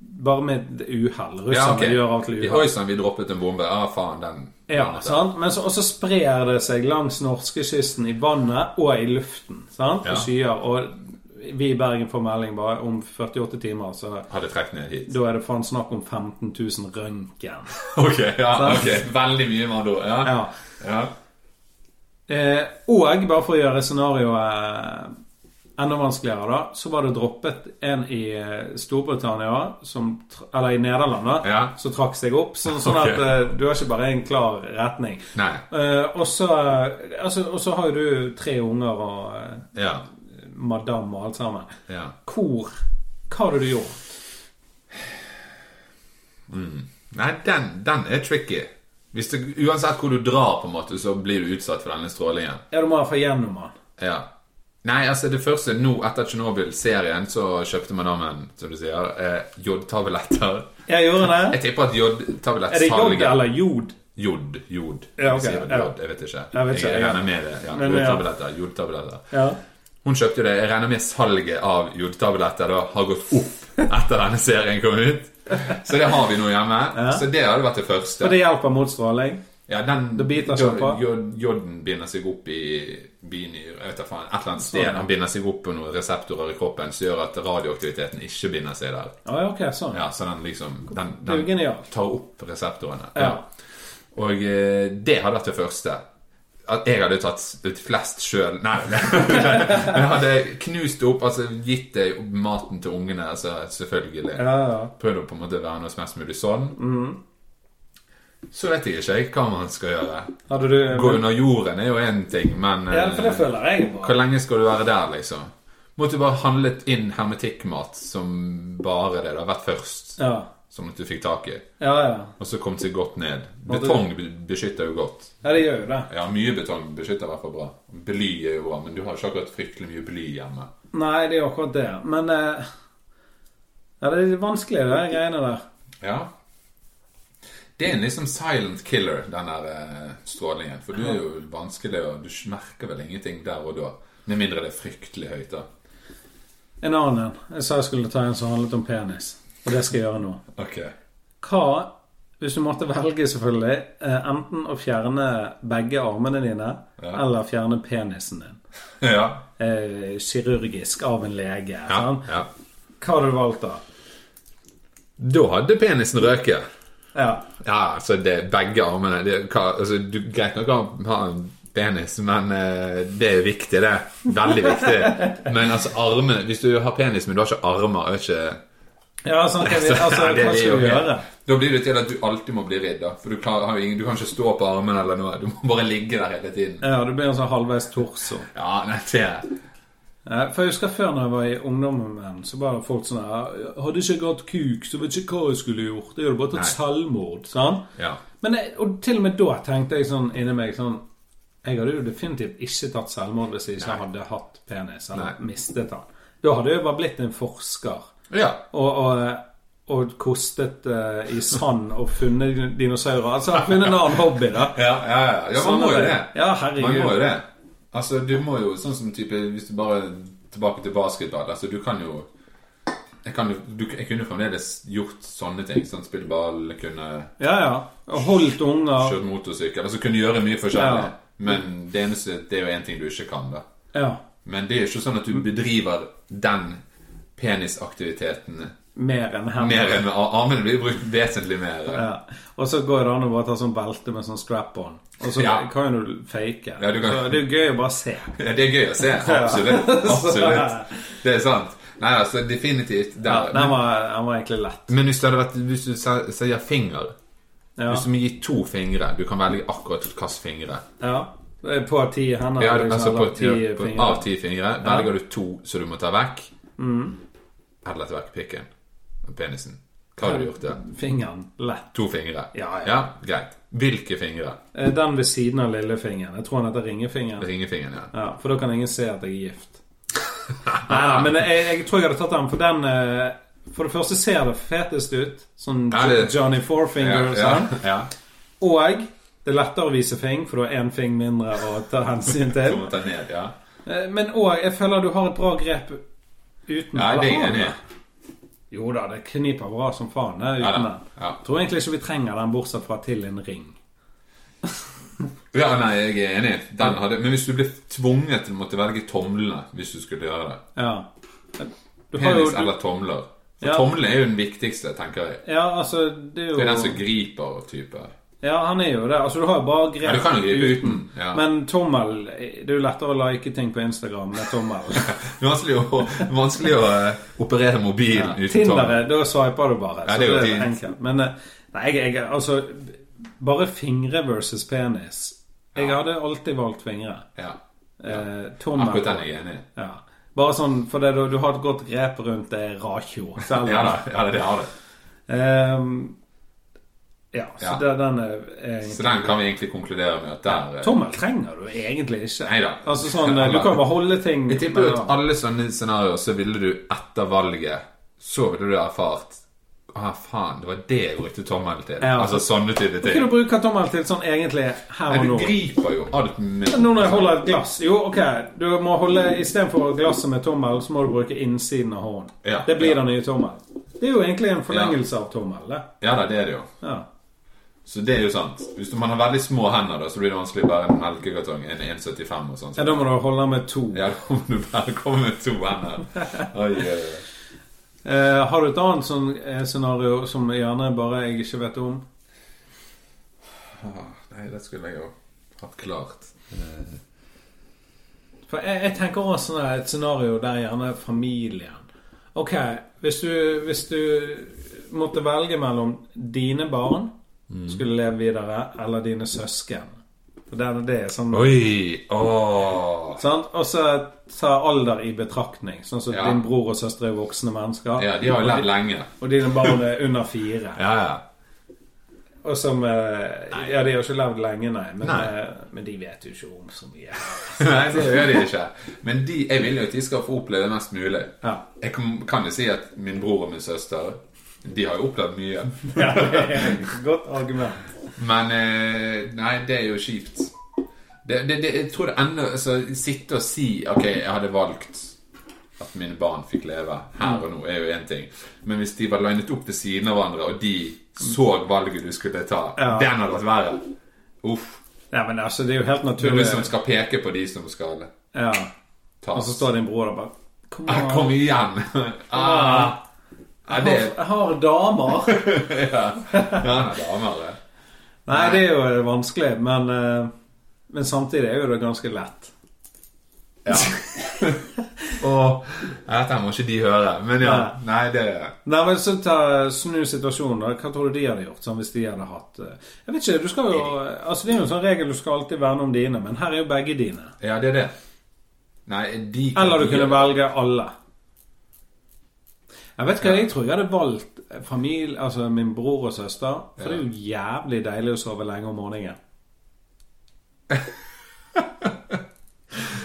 S1: Bare med et uhell. Russerne
S2: Ja, ok.
S1: gjør alt
S2: I
S1: til uhell.
S2: Hoisan vi droppet en bombe. Ah, faen, den
S1: Ja,
S2: den-
S1: sant? Men så, og så sprer det seg langs norskekysten i vannet og i luften. sant?
S2: Ja.
S1: Og skyer. Og vi i Bergen får melding bare om 48 timer, så
S2: Hadde trukket ned hit. <laughs>
S1: da er det faen snakk om 15 000 røntgen.
S2: Ok, ja,
S1: Sant?
S2: ok. Veldig mye med andre ord. Ja.
S1: Ja.
S2: Ja.
S1: Eh, og bare for å gjøre scenarioet eh, enda vanskeligere, da, så var det droppet en i eh, Storbritannia, som, tr- eller i Nederland, da,
S2: Ja.
S1: som trakk seg opp. Sånn, sånn
S2: Ok.
S1: at eh, du har ikke bare en klar retning.
S2: Nei.
S1: Eh, og så eh, altså, og så har jo du tre unger og eh,
S2: Ja.
S1: madam og alt sammen.
S2: ja.
S1: Hvor Hva hadde du gjort?
S2: Nei, den, den er tricky. Hvis du, uansett hvor du drar, på en måte, så blir du utsatt for denne strålingen.
S1: Ja, du må iallfall gjennom den.
S2: Ja. Nei, altså det første nå etter Tsjernobyl-serien så kjøpte man navn, som du sier, eh, jodtabletter.
S1: Jeg gjorde det.
S2: <laughs> Jeg tipper at
S1: Er det jod
S2: jodtablettsalget
S1: eller jod?
S2: Jod, jod.
S1: Ja, ok,
S2: Sier vel
S1: ja.
S2: jod, jeg vet ikke.
S1: Jeg vet ikke,
S2: jeg
S1: ja.
S2: regner med det. Ja,
S1: Men, ja.
S2: jodtabletter, jodtabletter.
S1: Ja.
S2: Hun kjøpte jo det. Jeg regner med salget av jodtabletter da har gått opp etter denne serien kom ut. Så det har vi nå hjemme. Så det hadde vært det
S1: Og
S2: første.
S1: det hjelper mot stråling?
S2: Ja, den
S1: Det biter seg
S2: jod-
S1: på.
S2: jod- Joden binder seg opp i binyr, jeg vet da faen, et eller annet
S1: Sånn.
S2: sted. Den binder seg opp på noen reseptorer i kroppen som gjør at radioaktiviteten ikke binder seg der.
S1: Ja, ja, ok, sånn.
S2: Ja, så den liksom Den,
S1: Det er jo
S2: den
S1: genialt.
S2: tar opp reseptorene.
S1: Ja.
S2: Og eh, det hadde vært det første. At jeg hadde tatt ut flest sjøl Nei, <laughs> nei. men jeg hadde knust opp, altså gitt det maten til ungene, altså selvfølgelig.
S1: Ja, Mhm. ja.
S2: Prøvd å på en måte være noe som mest mulig sånn. Så vet jeg ikke jeg hva man skal gjøre.
S1: Hadde du
S2: Gå under jorden er jo én ting, men
S1: Ja, for det
S2: eh,
S1: føler jeg
S2: hvor
S1: bare.
S2: lenge skal du være der, liksom? Måtte du bare handlet inn hermetikkmat som bare det. Det har vært først.
S1: Ja,
S2: Som at du fikk tak i.
S1: ja. ja.
S2: Og så kom seg godt ned.
S1: Og du-
S2: Betong be- beskytter jo godt.
S1: ja det gjør jo det.
S2: Ja, mye betong beskytter i hvert fall bra. Bly er jo bra, men du har ikke akkurat fryktelig mye bly hjemme.
S1: Nei, det er jo akkurat det. Men eh, Ja, det er litt vanskelig, det de greiene der.
S2: Ja. Det er en liksom silent killer, den der eh, strålingen. For du er jo vanskelig, og du merker vel ingenting der og da. Med mindre det er fryktelig høyt, da.
S1: En annen en. Jeg sa jeg skulle ta en som handlet om penis. Og det skal jeg gjøre nå.
S2: Ok. <laughs>
S1: Hva hvis du måtte velge, selvfølgelig, eh, enten å fjerne begge armene dine,
S2: Ja.
S1: eller fjerne penisen din.
S2: ja.
S1: Eh, kirurgisk av en lege.
S2: Ja.
S1: sant?
S2: ja.
S1: Hva hadde du valgt da?
S2: Da hadde penisen røket.
S1: Ja.
S2: Ja, altså det, begge armene det, hva, altså, du, Greit nok å ha en penis, men eh, det er viktig, det. Veldig viktig. <laughs> Men altså armene Hvis du har penis, men du har ikke armer er ikke,
S1: ja sånn,
S2: <laughs>
S1: kan vi, altså,
S2: Nei, det
S1: hva
S2: blir jo
S1: skal du
S2: helt-
S1: gjøre?
S2: Da blir det til at du alltid må bli ridd. da For du, klarer, har jo ingen, du kan ikke stå på armene eller noe. Du må bare ligge der hele tiden.
S1: Ja, du blir en sånn halvveis torso.
S2: Ja, nei, det
S1: Eh, For jeg husker før når jeg var i ungdommen, så var det folk sånn her Hadde ikke jeg hatt kuk, så vet jeg ikke hva jeg skulle gjort. Jeg hadde bare tatt selvmord. sant?
S2: Ja.
S1: Men jeg, og til og med da tenkte jeg sånn inni meg sånn Jeg hadde jo definitivt ikke tatt selvmord hvis jeg ikke hadde hatt penis, eller
S2: Nei.
S1: mistet den. Da hadde jeg bare blitt en forsker.
S2: Ja.
S1: Og, og, og kostet eh, i sand og funnet dinosaurer. Altså jeg har funnet en annen hobby, da.
S2: Ja, ja, ja. ja man
S1: Sånn
S2: må jo
S1: er det.
S2: det.
S1: Ja, herregud.
S2: Man må jo det. Altså, du må jo sånn som type Hvis du bare tilbake til basketball Altså, du kan jo jeg, kan, jo- du, jeg kunne jo fremdeles gjort sånne ting. Sånn Spille ball, kunne
S1: Ja, ja. Og Holdt unger.
S2: kjørt motorsykkel Altså kunne gjøre mye forskjellig.
S1: Ja.
S2: Men det eneste Det er jo én ting du ikke kan, da.
S1: Ja.
S2: Men det er jo ikke sånn at du bedriver den penisaktiviteten
S1: Mer enn hender.
S2: mer enn med ar- armene. Blir brukt vesentlig mer.
S1: Ja. Og så går det an å bare ta sånn belte med sånn strap-on. Og så
S2: Ja.
S1: kan jo du fake.
S2: Ja, du kan-
S1: Så det er jo gøy å bare se.
S2: Ja, det er gøy å se. Absolutt. Absolutt. Det er sant. Nei, altså, definitivt
S1: Ja,
S2: der.
S1: den, var, den var egentlig lett.
S2: Men hvis det hadde vært Hvis du sa- sier finger
S1: Ja.
S2: Du som gir to fingre. Du kan velge akkurat hvilke fingre.
S1: Ja. På ti hender.
S2: Ja,
S1: liksom,
S2: altså på,
S1: eller
S2: ti,
S1: ti
S2: på,
S1: fingre.
S2: av ti fingre velger du to som du må ta vekk.
S1: Mm.
S2: Eller ta vekk pikken. Penisen. Hva har du gjort der?
S1: Fingeren. Lett.
S2: To fingre.
S1: Ja, ja.
S2: Greit. Hvilke fingre?
S1: Eh, Den ved siden av lillefingeren. Jeg tror han heter ringefingeren.
S2: Ringefingeren, ja.
S1: Ja, for da kan ingen se at jeg er
S2: <laughs>
S1: gift. Nei, nei, men jeg, jeg tror jeg hadde tatt den, for den eh, For det første ser det fetest ut. Sånn
S2: Ja, det-
S1: Johnny
S2: Ja,
S1: Fourfinger og
S2: ja,
S1: sånn.
S2: ja.
S1: Og det er lettere å vise fing, for du har én fing mindre å ta hensyn
S2: Du
S1: til.
S2: må ta ned, <laughs> ja.
S1: Eh, Men òg, jeg føler du har et bra grep
S2: Ja, det er
S1: uten eller
S2: jeg
S1: har
S2: enig i.
S1: du? Jo da, det kniper bra som faen det,
S2: Ja,
S1: uten
S2: da.
S1: den.
S2: ja.
S1: Jeg tror egentlig ikke vi trenger den, bortsett fra til en ring.
S2: ja, nei, jeg er enig. Den hadde, men hvis du ble tvunget til å måtte velge tomlene hvis du skulle gjøre det
S1: Ja. Du har jo
S2: Penis eller tomler. For
S1: Ja.
S2: tomlene er jo den viktigste, tenker jeg.
S1: Ja, altså, det er jo
S2: Det er den som griper type.
S1: Ja, han er jo det. Altså, du har jo bare grep
S2: Ja, du kan jo gripe uten. Ja.
S1: Men tommel Det er jo lettere å like ting på Instagram med
S2: <laughs>
S1: tommel.
S2: Det er vanskelig å, vanskelig å eh, operere mobilen uten
S1: Tinder,
S2: tommel.
S1: er- da swiper du bare.
S2: Ja,
S1: så
S2: det er jo
S1: det er
S2: fint.
S1: enkelt. Men eh, nei, jeg, jeg Altså, bare fingre versus penis. Jeg hadde alltid valgt fingre.
S2: Ja.
S1: Eh, tommel
S2: Akkurat den er jeg enig i.
S1: Ja. Bare sånn fordi du, du har et godt grep rundt det ratio. selv.
S2: Ja da, ja, det har det.
S1: Ehm, ja, så
S2: Ja.
S1: Det, den er egentlig
S2: Så den kan vi egentlig konkludere med at der eh,
S1: Tommel trenger du egentlig ikke.
S2: Neida.
S1: Altså sånn, eh, Du kan bare holde ting
S2: Jeg tipper jo at alle sånne scenarioer så ville du etter valget Så ville du erfart Ah, faen, det var det jeg brukte tommelen til.
S1: Ja.
S2: Altså sånne type
S1: Kan du
S2: ting.
S1: bruke tommel til sånn egentlig her
S2: Nei,
S1: og
S2: du
S1: nå?
S2: griper jo alt med
S1: Nå når jeg holder et glass Jo, ok, du må holde istedenfor glasset med tommel, så må du bruke innsiden av hånden.
S2: Ja,
S1: det blir
S2: ja.
S1: den nye tommel. Det er jo egentlig en forlengelse av tommel, det.
S2: Ja da, det er det jo.
S1: Ja.
S2: Så det er jo sant. Hvis man har veldig små hender, da, så blir det vanskelig å bære en melkekartong, en 1,75 og sånn.
S1: ja, da må du holde den med to.
S2: Ja, <laughs> da må du bare komme med to hender. Oi, oi, oi.
S1: Eh, har du et annet sånn eh, scenario som gjerne bare jeg ikke vet om?
S2: Ah, Nei, det skulle jeg jo hatt klart.
S1: For jeg, jeg tenker også sånn her, et scenario der gjerne familien Ok, hvis du, hvis du måtte velge mellom dine barn
S2: Mm.
S1: skulle leve videre, eller dine søsken. For det, det er sånn
S2: Oi! Åh.
S1: Sant? Og så ta alder i betraktning. Sånn som
S2: Ja.
S1: din bror og søster er voksne mennesker.
S2: Ja, de har jo levd lenge.
S1: Og dine barn er under fire.
S2: Ja, ja.
S1: Og som eh, Ja, de har ikke levd lenge, nei. Men,
S2: Nei.
S1: eh, men de vet jo ikke om så mye. <laughs>
S2: <laughs> Nei, det gjør de ikke. Men de, jeg vil jo at de skal få oppleve mest mulig.
S1: Ja.
S2: Jeg kan, kan jo si at min bror og min søster De har jo opplevd mye.
S1: ja det er et Godt argument.
S2: Men eh, Nei, det er jo kjipt. Det, det, det, jeg tror det ender altså, Sitte og si Ok, jeg hadde valgt at mine barn fikk leve her og nå, er jo én ting. Men hvis de var linet opp ved siden av hverandre, og de så valget du skulle ta,
S1: Ja.
S2: den hadde vært verre. Uff.
S1: Ja, men altså, det er jo helt
S2: Det er liksom-
S1: naturlig.
S2: du som skal peke på de som skal
S1: Ja. Og så
S2: tas.
S1: står din bror der bare Kom
S2: Ah,
S1: an.
S2: Kom igjen! Ah. Ja, det
S1: Jeg har damer.
S2: Ja, damer. det.
S1: <laughs> Nei, det er jo vanskelig, men eh, Men samtidig er jo det ganske lett. <laughs>
S2: Ja. Og ja, Dette må ikke de høre. Men ja, nei, det
S1: Nei, men så ta, Snu situasjonen. da. Hva tror du de hadde gjort sånn, hvis de hadde hatt eh, Jeg vet ikke, du skal jo Altså Det er jo en sånn regel du skal alltid verne om dine, men her er jo begge dine.
S2: Ja, det er det. Nei, de kan
S1: Eller du
S2: ikke-
S1: kunne velge alle. Jeg vet hva, jeg tror jeg hadde valgt familie, altså min bror og søster. For det er jo jævlig deilig å sove lenge om morgenen.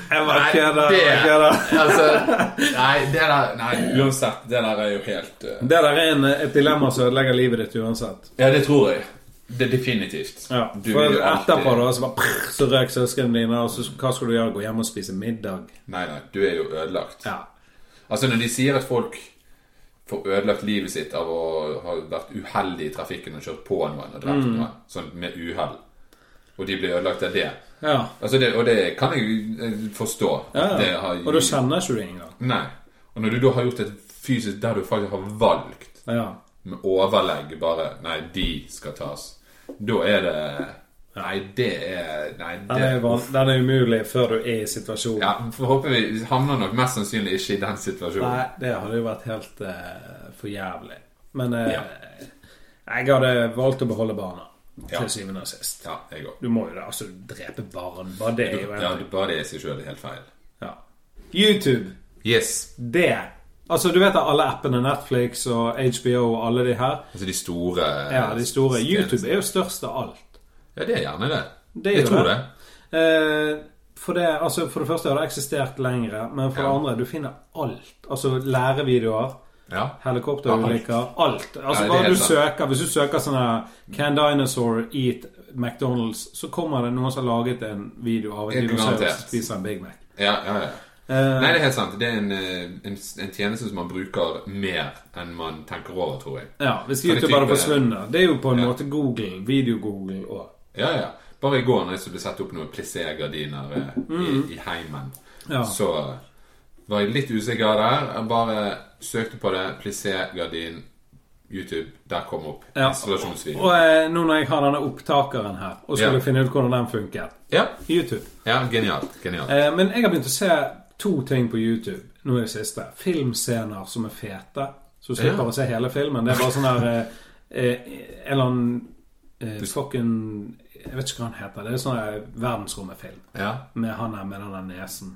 S1: Jeg bare
S2: Nei,
S1: kødder.
S2: det-
S1: jeg kødder.
S2: Altså, nei, det der Nei, uansett. Det der er jo helt eh,
S1: Det der er en, et dilemma som ødelegger livet ditt uansett.
S2: Ja, det tror jeg. Det er definitivt.
S1: Ja,
S2: Du
S1: for
S2: vil jo alltid-
S1: etterpå da, så bare prr, Så røk søsknene dine, og så hva skal du gjøre? Gå hjem og spise middag?
S2: Nei, nei, du er jo ødelagt.
S1: Ja.
S2: Altså, når de sier at folk får ødelagt livet sitt av å ha vært uheldig i trafikken og kjørt på noen og drept
S1: Mm.
S2: noen, sånn med uhell, og de blir ødelagt av det
S1: ja.
S2: Altså det, og det kan jeg eh, forstå.
S1: ja,
S2: at Det
S1: ja.
S2: har,
S1: Og da kjenner ikke du det engang.
S2: Nei. Og når du da har gjort et fysisk der du faktisk har valgt
S1: Ja.
S2: med overlegg bare Nei, de skal tas. Da er det Nei, det er Nei, det
S1: Den er, van- den er umulig før du er i situasjonen.
S2: ja, for håper vi havner nok mest sannsynlig ikke i den situasjonen.
S1: Nei, det hadde jo vært helt eh, for jævlig. Men eh,
S2: Ja.
S1: jeg hadde valgt å beholde barna.
S2: Ja.
S1: til syvende og sist.
S2: Ja, jeg òg.
S1: Du må jo det. Altså, drepe barn. Bare det er jo en
S2: Ja, det- bare det i seg sjøl er helt feil.
S1: ja. YouTube.
S2: Yes.
S1: Det. Altså, du vet at alle appene, Netflix og HBO og alle de her,
S2: Altså de store
S1: ja, de store YouTube er jo størst av alt.
S2: Ja, det er gjerne det.
S1: Det er
S2: jeg
S1: jo
S2: tror det.
S1: det. Eh, for, det, altså, for det første har det eksistert lengre, men for
S2: Ja.
S1: det andre, du finner alt. Altså lærevideoer,
S2: Ja.
S1: helikopterulykker, alt. Altså
S2: Ja, det er
S1: hva du
S2: helt sant.
S1: søker. Hvis du søker sånn her Can dinosaur eat McDonald's, så kommer det noen som har laget en video av en
S2: Helt
S1: dinosaur
S2: garantert.
S1: som spiser en Big Mac.
S2: ja, ja, ja.
S1: Eh,
S2: Nei, det er helt sant. Det er en, eh, en, en tjeneste som man bruker mer enn man tenker over, tror jeg.
S1: ja, hvis
S2: Kan jeg
S1: YouTube hadde
S2: type-
S1: forsvunnet. Det er jo på en
S2: Ja.
S1: måte Google, video-Google og
S2: Ja, ja. Bare i går når jeg skulle sette opp noen plissé-gardiner eh, i, i heimen,
S1: Mm. Ja.
S2: så var jeg litt usikker der. Jeg bare søkte på det. Plissé-gardin, YouTube. Der kom opp
S1: Ja.
S2: installasjonsvideo.
S1: Og eh, nå når jeg har denne opptakeren her, og
S2: Ja.
S1: skulle finne ut hvordan den funket
S2: Ja,
S1: YouTube.
S2: ja, genialt. genialt.
S1: Eh, men jeg har begynt å se to ting på YouTube nå i det siste. Filmscener som er fete. Så du slipper
S2: Ja.
S1: å se hele filmen. Det er bare sånn der eh, eh, En eller annen eh, fucking Jeg vet ikke hva han heter. Det er sånn der verdensrommet-film.
S2: Ja.
S1: Med han her med den der nesen.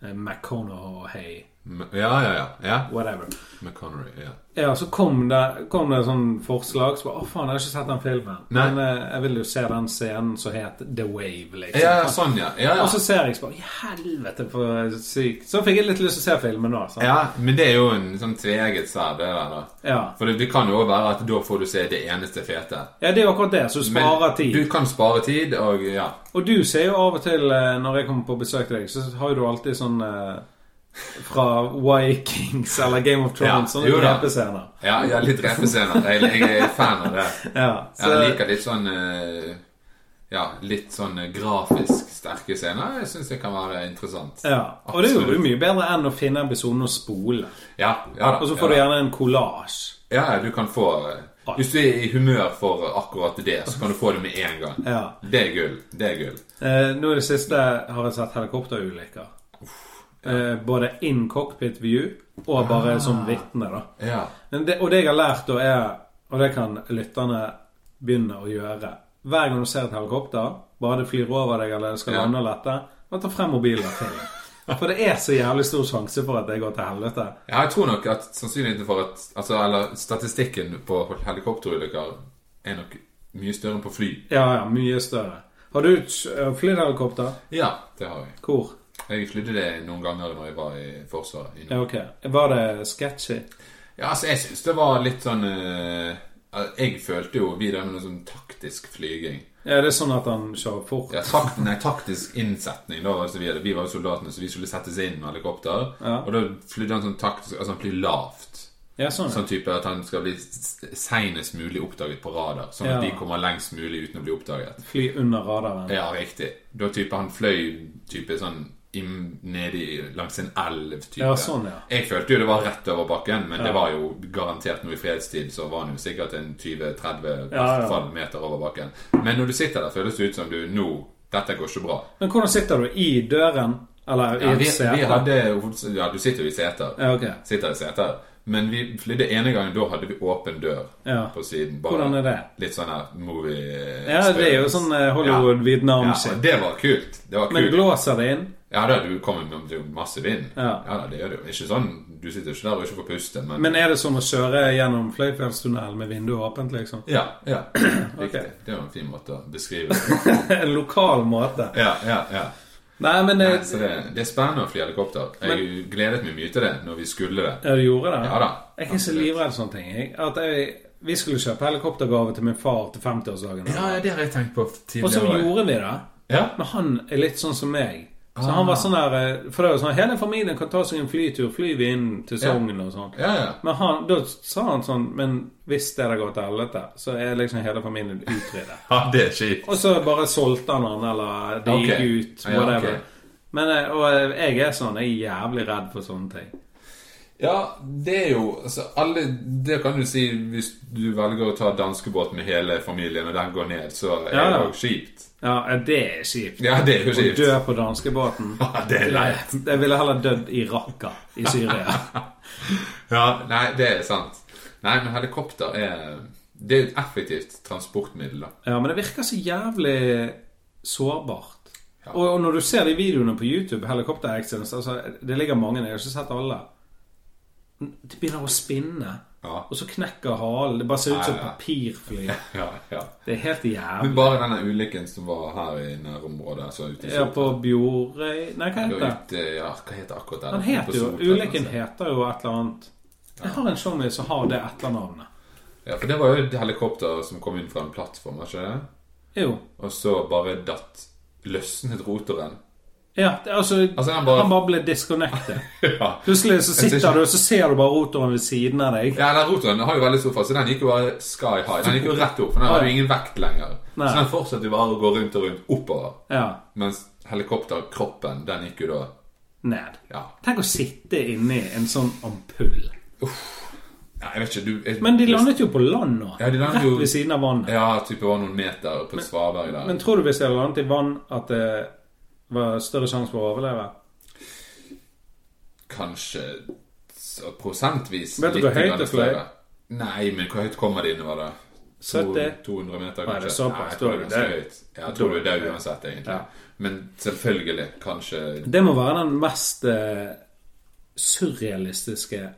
S1: Eh, McConaughey.
S2: M- Ja, ja, ja. ja.
S1: Whatever.
S2: McConnery. Ja.
S1: Ja, så kom det, kom det sånn forslag. Så bare, Å, faen, jeg har ikke sett den filmen.
S2: Nei.
S1: Men eh, jeg vil jo se den scenen som het The Wave, liksom.
S2: ja, sånn, ja. ja, ja.
S1: Og så ser jeg så bare I helvete, for sykt. Så fikk jeg litt lyst til å se filmen nå. sant?
S2: ja. Men det er jo en sånn tveegget sverd, det der, da.
S1: Ja.
S2: For det, det kan jo også være at da får du se det eneste fete.
S1: ja, det er jo akkurat det. Så du
S2: Men
S1: sparer tid.
S2: Du kan spare tid, og ja.
S1: Og du ser jo av og til, eh, når jeg kommer på besøk til deg, så har jo du alltid sånn eh, fra Vikings eller Game of
S2: Ja,
S1: Thrones, sånne
S2: jo da.
S1: drepescener.
S2: Ja, ja litt repescener. Jeg, jeg er fan av det.
S1: Ja, så,
S2: Jeg liker litt sånn eh, Ja, litt sånn eh, grafisk sterke scener. Jeg syns det kan være interessant.
S1: ja. Og det er jo
S2: Absolutt.
S1: mye bedre enn å finne episoden og spole.
S2: Ja, ja da.
S1: Og så
S2: ja,
S1: får du
S2: da.
S1: gjerne en kollasj.
S2: ja, ja, du kan få eh, Hvis du er i humør for akkurat det, så kan du få det med en gang.
S1: Ja.
S2: Det er gull. Det er gull.
S1: Eh, nå i det siste har jeg sett helikopterulykker. Eh, både in cockpit view
S2: Ah.
S1: og bare som vitne, da.
S2: Ja.
S1: Men det, og det jeg har lært, da er Og det kan lytterne begynne å gjøre Hver gang du ser et helikopter, bare det flyr over deg eller det skal
S2: Ja.
S1: lande og lette, bare ta frem mobilen og film. For det er så jævlig stor sjanse for at det går til helvete.
S2: Ja, jeg tror nok at sannsynligheten for at altså, Eller statistikken på helikopterulykker er nok mye større enn på fly.
S1: Ja, ja, mye større. Har du eh, flydd helikopter?
S2: Ja, det har jeg.
S1: Hvor?
S2: Jeg flydde det noen ganger når jeg var i Forsvaret. i Nord-
S1: Ja, ok. Var det sketchy?
S2: Ja, altså, jeg syns det var litt sånn eh, al- Jeg følte jo vi drev med noe sånn taktisk flyging.
S1: Ja, det er sånn at han kjører fort?
S2: Ja, takt, nei, taktisk innsetning, da. Altså, vi, hadde- vi var jo soldatene, så vi skulle settes inn med helikopter.
S1: Ja.
S2: Og da flydde han sånn taktisk Altså, han flyr lavt.
S1: Ja, sånn.
S2: Sånn type at han skal bli s- seinest mulig oppdaget på radar. Sånn at de
S1: Ja.
S2: kommer lengst mulig uten å bli oppdaget.
S1: Fly under radaren.
S2: Ja, riktig. Da type han fløy type sånn im- nedi langs en elv type.
S1: Ja, sånn, ja.
S2: Jeg følte jo det var rett over bakken, men det var jo garantert noe i fredstid, så var han jo sikkert en 20-30
S1: Ja, ja.
S2: fall meter over bakken. Men når du sitter der, føles det ut som du nå dette går ikke bra.
S1: Men hvordan sitter du? I døren? Eller i
S2: Ja,
S1: et
S2: vi, vi
S1: sete?
S2: hadde, hoveds- ja, du sitter jo i seter.
S1: Ja, ok.
S2: Sitter i seter. Men vi flydde ene gangen, da hadde vi åpen dør
S1: Ja.
S2: på siden.
S1: Hvordan er det?
S2: Litt sånn her movie
S1: Ja, det er jo sånn eh,
S2: ja,
S1: Hollywood-Vietnam-shit.
S2: og det var kult. Det var
S1: Men
S2: kult.
S1: blåser det inn?
S2: Ja da, du kommer med det er jo masse vind.
S1: Ja.
S2: da, det gjør det jo. Ikke sånn, Du sitter ikke der og ikke får puste, men,
S1: Men er det som å kjøre gjennom Fløyfjellstunnel med vinduet åpent,
S2: <laughs>
S1: liksom?
S2: Ja. ja. Riktig.
S1: <clears throat> Ok.
S2: Det er jo en fin måte å beskrive det
S1: en lokal måte.
S2: Ja, ja, ja.
S1: <laughs> Nei, men
S2: Nei,
S1: eh,
S2: så det, det er spennende å fly helikopter. Jeg gledet meg mye til det når vi skulle det.
S1: Ja, du gjorde det?
S2: Ja da.
S1: Jeg er så livredd sånne ting. Jeg, at jeg, vi skulle kjøpe helikoptergave til min far til 50-årsdagen.
S2: Ja, ja, det har jeg tenkt på tidligere.
S1: Og så
S2: også.
S1: gjorde vi det.
S2: Ja.
S1: Men han er litt sånn som meg. Så han
S2: Ah.
S1: var sånn der eh, For det er jo sånn hele familien kan ta seg en flytur. Flyr vi inn til Sogn og sånn.
S2: Ja, ja.
S1: Men han, da sa han sånn Men hvis det der går til helvete, så er liksom hele familien utryddet.
S2: <laughs> ja, det er kjipt.
S1: Og så bare solgte han han, eller det
S2: Ok.
S1: gikk ut,
S2: Ja,
S1: whatever.
S2: ok.
S1: Men, eh, og jeg er sånn. Jeg er jævlig redd for sånne ting.
S2: Ja, det er jo altså, alle, Det kan du si hvis du velger å ta danskebåt med hele familien, og den går ned, så er
S1: Ja,
S2: det
S1: ja.
S2: jo kjipt.
S1: Ja, eh, det er kjipt.
S2: Ja, det er jo
S1: Å
S2: kjipt.
S1: dø på danskebåten.
S2: Ja, det er leit.
S1: Jeg ville heller dødd i Raqqa i
S2: <laughs>
S1: Syria.
S2: Ja, nei, det er sant. Nei, men helikopter er Det er jo et effektivt transportmiddel, da.
S1: Ja, men det virker så jævlig sårbart.
S2: Ja.
S1: Og, og når du ser de videoene på YouTube, Helicopter Accidents altså, Det ligger mange, jeg har ikke sett alle. Det begynner å spinne,
S2: Ja.
S1: og så knekker halen. Det bare ser ut som
S2: Ja, ja.
S1: papirfly.
S2: Ja, ja.
S1: Det er helt
S2: <laughs>
S1: jævlig.
S2: Men bare denne ulykken som var her i nærområdet altså ute i
S1: Ja,
S2: Sol-
S1: på Bjorøy Nei,
S2: Ja,
S1: hva heter det?
S2: ute, ja, hva heter akkurat det?
S1: Han heter jo Ulykken
S2: altså.
S1: heter jo et eller annet Jeg har en showmate som har det etternavnet.
S2: Ja, for det var jo et helikopter som kom inn fra en plattform, var ikke det?
S1: Jo.
S2: Og så bare datt løsnet rotoren.
S1: Ja, det, altså,
S2: Altså, han
S1: han,
S2: bare-
S1: bare... ble disconnected.
S2: <laughs> Ja.
S1: Plutselig
S2: Jeg
S1: så
S2: ser
S1: sitter
S2: ikke-
S1: du, og så ser du bare rotoren ved siden av deg.
S2: Ja, den rotoren har jo veldig stor fart, så den gikk jo bare sky high. Den gikk jo rett opp, for den hadde jo ingen vekt lenger.
S1: Nei.
S2: Så den fortsatte jo bare å gå rundt og rundt oppover.
S1: Ja.
S2: Mens helikopterkroppen, den gikk jo da
S1: Ned.
S2: Ja.
S1: Tenk å sitte inni en sånn ampull.
S2: Nei, jeg vet ikke, du jeg,
S1: Men de landet jo på land nå.
S2: Ja, de landet
S1: rett
S2: jo-
S1: ved siden av vannet.
S2: Ja, type var noen meter på et svaberg der.
S1: Men tror du hvis de hadde landet i vann, at det var større sjanse for å overleve?
S2: Kanskje så prosentvis
S1: Vet du hvor
S2: litt
S1: høyt
S2: grann
S1: det fløy?
S2: større. Nei, men hvor høyt kommer det innover, da? To-
S1: 70?
S2: 200 meter,
S1: Nei, det er
S2: kanskje?
S1: såpass.
S2: jeg tror
S1: Da
S2: det er
S1: er du
S2: ganske
S1: død.
S2: høyt. Ja, Jeg tror du er død uansett, egentlig. Men selvfølgelig, kanskje
S1: Det må være den mest eh, surrealistiske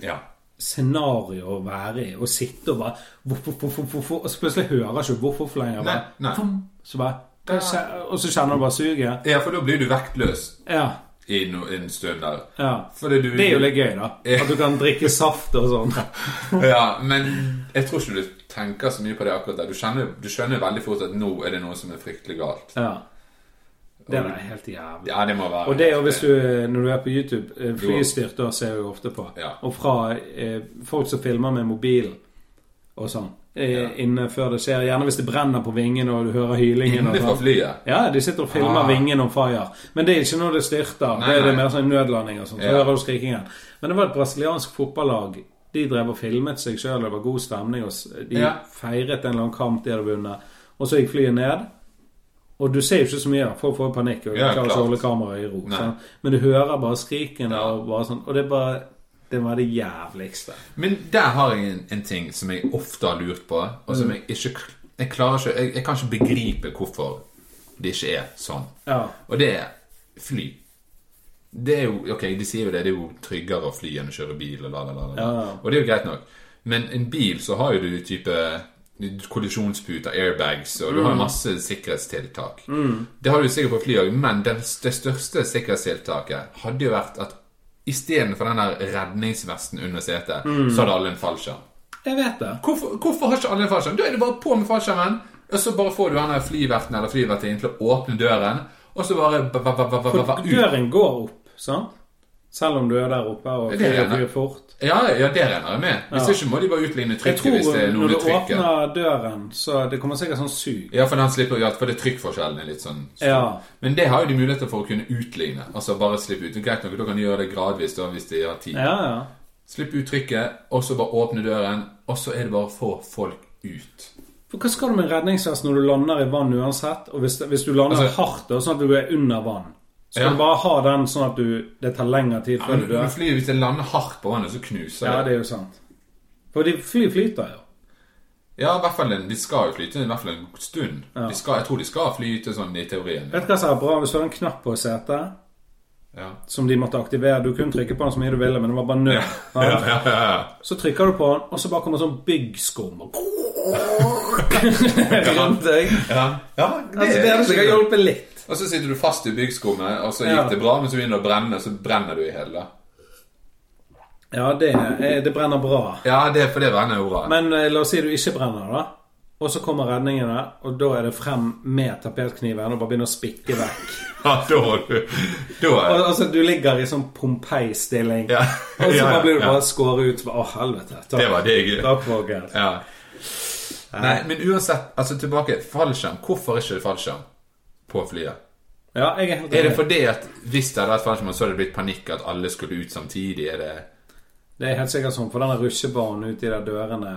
S2: Ja.
S1: scenario å være i. Å sitte og bare voff, voff, voff, voff, voff, Og så plutselig hører ikke voff, voff lenger. Bare,
S2: Nei, nei.
S1: Fum, Så bare, det skje- og så kjenner du bare suget.
S2: ja, for da blir du vektløs
S1: Ja.
S2: i no, en stund der.
S1: ja.
S2: Fordi du
S1: Det er jo litt gøy, da.
S2: Ja.
S1: At du kan drikke saft og
S2: <laughs>
S1: sånn.
S2: Ja, men jeg tror ikke du tenker så mye på det akkurat der. Du skjønner, du skjønner veldig fort at nå er det noe som er fryktelig galt.
S1: Ja. Det er da helt jævlig.
S2: Ja, det må være
S1: Og det er jo hvis du, når du er på YouTube, eh, flystyrt da ser jeg jo ofte på.
S2: Ja.
S1: Og fra eh, folk som filmer med mobilen og sånn. Eh, Inne før det skjer. Gjerne hvis det brenner på vingen og du
S2: <laughs>
S1: hører hylingen.
S2: Inne
S1: Og
S2: fra
S1: sånn.
S2: flyet.
S1: Ja, de sitter og filmer
S2: Ah.
S1: vingen on fire. Men det er ikke når det styrter.
S2: Nei,
S1: det er det
S2: nei.
S1: mer sånn nødlanding og sånn. Så
S2: Ja.
S1: hører du skrikingen. Men det var et brasiliansk fotballag. De drev og filmet seg sjøl, det var god stemning. Og s- de
S2: Ja.
S1: feiret en eller annen kamp de hadde vunnet. Og så gikk flyet ned. Og du ser jo ikke så mye, folk får jo panikk og
S2: Ja,
S1: klarer ikke
S2: klart.
S1: å holde kameraet i ro.
S2: Nei.
S1: sant? Men du hører bare skrikene
S2: Ja.
S1: og bare sånn. Og det er bare Det var det jævligste.
S2: Men der har jeg en, en ting som jeg ofte har lurt på, og
S1: Mm.
S2: som jeg ikke kl- Jeg klarer ikke Jeg, jeg kan ikke begripe hvorfor det ikke er sånn.
S1: Ja.
S2: Og det er fly. Det er jo Ok, de sier jo det, det er jo tryggere å fly enn å kjøre bil, og la, la, la. la.
S1: Ja, ja.
S2: Og det er jo greit nok. Men en bil, så har jo du type kollisjonsputer, airbags, og du har
S1: Mm.
S2: masse sikkerhetstiltak. Det har du sikkert på fly òg, men den, det største sikkerhetstiltaket hadde jo vært at istedenfor den der redningsvesten under setet,
S1: Mm.
S2: så hadde alle en fallskjerm.
S1: Jeg vet det.
S2: Hvorfor, hvorfor har ikke alle en fallskjerm? Da er det bare på med fallskjermen, og så bare får du denne flyverten eller flyvertinnen til å åpne døren, og så bare ba, ba, ba, ba, ba, ba, ut.
S1: Døren går opp, sant? Selv om du er der oppe og
S2: Det er
S1: flyet
S2: det.
S1: flyr fort.
S2: Ja, ja, det regner jeg med. Hvis
S1: Ja.
S2: ikke må de bare utligne
S1: Jeg
S2: trykket
S1: tror
S2: hvis det er noe
S1: når du
S2: med trykket.
S1: åpner døren, så det kommer sikkert sånn sug.
S2: Ja, for den slipper ja, for det trykkforskjellen er litt sånn stor.
S1: Ja.
S2: Men det har jo de muligheter for å kunne utligne. Altså bare slippe ut. Det er Greit nok, da kan de gjøre det gradvis da, hvis de har tid.
S1: Ja, ja.
S2: Slipp ut trykket, og så bare åpne døren, og så er det bare å få folk ut.
S1: For hva skal du med en redningsvest når du lander i vann uansett? Og hvis, hvis du lander
S2: Altså-
S1: hardt, da, sånn at du er under vann, skal
S2: Ja.
S1: du bare ha den sånn at du, det tar lengre tid før
S2: Men
S1: du dør?
S2: flyet, hvis det lander hardt på vannet, så knuser
S1: Ja, det er jo sant. For de fly flyter jo.
S2: Ja, i hvert fall en, de skal jo flyte i hvert fall en stund. De skal, jeg tror de skal flyte sånn i teorien.
S1: Vet du hva som er bra? Hvis du har en knapp på setet
S2: Ja.
S1: som de måtte aktivere Du kunne trykke på den så mye du ville, men det var bare nød.
S2: Ja,
S1: Ja.
S2: ja, ja, ja.
S1: Så trykker du på den, og så bare kommer sånn
S2: <laughs>
S1: byggskum og Rundt deg.
S2: det,
S1: Altså, det hadde sikkert hjulpet litt.
S2: Og så sitter du fast i byggskummet, og så gikk
S1: Ja.
S2: det bra, men så begynner det å brenne, og så brenner du i hele.
S1: Ja, det, eh, det brenner bra.
S2: Ja, det, for det brenner jo bra.
S1: Men eh, la oss si du ikke brenner, da. Og så kommer redningene, og da er det frem med tapetkniven og bare begynner å spikke vekk.
S2: <laughs>
S1: <laughs>
S2: ja, da har du Da
S1: Al
S2: er
S1: altså, du ligger i sånn Pompeii-stilling,
S2: Ja.
S1: <laughs> og så
S2: Ja,
S1: bare blir du
S2: ja.
S1: bare skåret ut. Å, helvete. Takk.
S2: Det var digg.
S1: Takk, Roger.
S2: Ja. Nei, men uansett, altså tilbake. Fallskjerm. Hvorfor er ikke det fallskjerm på flyet?
S1: Ja, jeg er helt
S2: Er det
S1: enig.
S2: fordi at hvis det hadde vært fallskjerm, så hadde det blitt panikk at alle skulle ut samtidig? Er det
S1: Det er helt sikkert sånn, for den rusjebanen ute i de dørene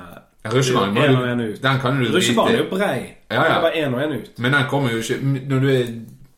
S2: Ja, Rusjebanen må
S1: En
S2: du-
S1: og en ut.
S2: den kan jo du drite
S1: Rusjebanen
S2: i.
S1: er jo brei.
S2: Ja, ja.
S1: Det er bare én og én ut.
S2: Men den kommer jo ikke Når du er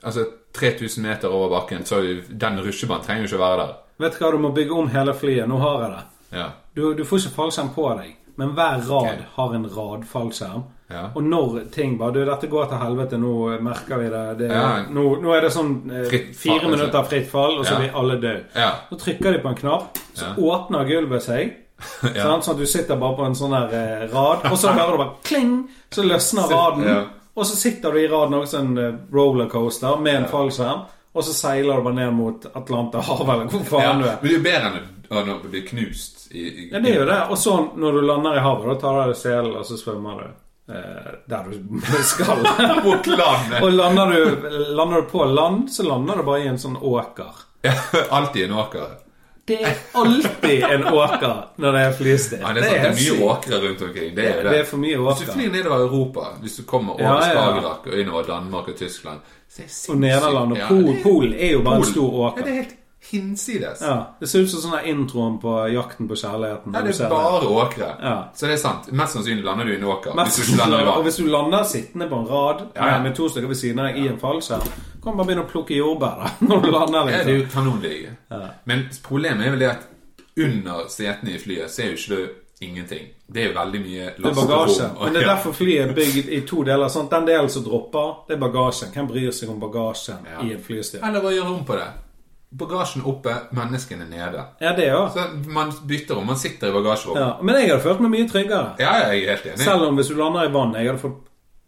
S2: altså, 3000 meter over bakken, så er jo- den rusjebanen trenger jo ikke å være der.
S1: Vet du hva, du må bygge om hele flyet. Nå har jeg det.
S2: Ja.
S1: Du, du får ikke fallskjerm på deg. Men hver rad har en radfallskjerm.
S2: Ja.
S1: Og når ting bare Du, dette går til helvete, nå merker vi det. det
S2: Ja.
S1: nå, nå er det sånn eh,
S2: Fritt fall, altså.
S1: fire minutter fritt fall, og så
S2: Ja.
S1: blir alle døde.
S2: Ja.
S1: Så trykker de på en knapp, så
S2: Ja.
S1: åpner gulvet seg.
S2: <laughs> Ja.
S1: sant? Sånn at du sitter bare på en sånn her eh, rad, og så hører du bare kling, så løsner
S2: Så-
S1: raden.
S2: ja.
S1: Og så sitter du i raden også en eh, rollercoaster med en fallskjerm, og så seiler du bare ned mot Atlanterhavet, eller hvor
S2: Ja,
S1: faen du
S2: Men
S1: er.
S2: det er jo bedre enn å- å bli knust i, i
S1: Ja, det er jo det. Og så når du lander i havet, da tar du av deg selen, og så svømmer du eh, der du <laughs> skal.
S2: Mot landet!
S1: og lander du, lander du på land, så lander du bare i en sånn åker.
S2: Ja, Alltid en åker.
S1: Det er alltid en åker når det er flystid.
S2: Ja, det er sant, det er
S1: sykt.
S2: mye åkre rundt omkring. Det er jo
S1: Det er for mye
S2: Hvis du
S1: åker.
S2: flyr nedover Europa, hvis du kommer over
S1: Ja, ja, ja.
S2: Skagerrak og innover Danmark og Tyskland så er det sinnssykt-
S1: Og Nederland og
S2: Ja,
S1: Pol,
S2: det er-
S1: Polen er jo bare en
S2: Polen.
S1: stor
S2: Ja,
S1: åker.
S2: det er helt hinsides.
S1: Ja, det ser ut som sånn her introen på Jakten på kjærligheten.
S2: Nei,
S1: når du
S2: det
S1: ser
S2: er bare åkre.
S1: Ja.
S2: Så det er sant. Mest sannsynlig lander du i en åker.
S1: Men-
S2: Hvis du ikke lander i
S1: og
S2: vann.
S1: hvis du lander sittende på en rad eh,
S2: Ja, ja.
S1: med to stykker ved siden av deg i en fallskjerm, kan du bare begynne å plukke jordbær da, <laughs> når du lander.
S2: Ja,
S1: liksom.
S2: det er jo kanonlige. Men problemet er vel det at under setene i flyet så er jo ikke det ingenting. Det er jo veldig mye
S1: Det er bagasje.
S2: lasterom. og-
S1: Men det er derfor flyet er bygd i to deler. Sant? Den delen som dropper, det er bagasjen. Hvem bryr seg om bagasjen
S2: Ja.
S1: i et flystyr?
S2: Eller bare gjør rom på det. Bagasjen oppe, menneskene nede.
S1: Ja, det òg.
S2: Så man bytter om. Man sitter i bagasjerommet.
S1: Ja. Men jeg hadde følt meg mye tryggere.
S2: Ja, ja, jeg er helt enig.
S1: Selv om hvis du lander i vann, jeg hadde fått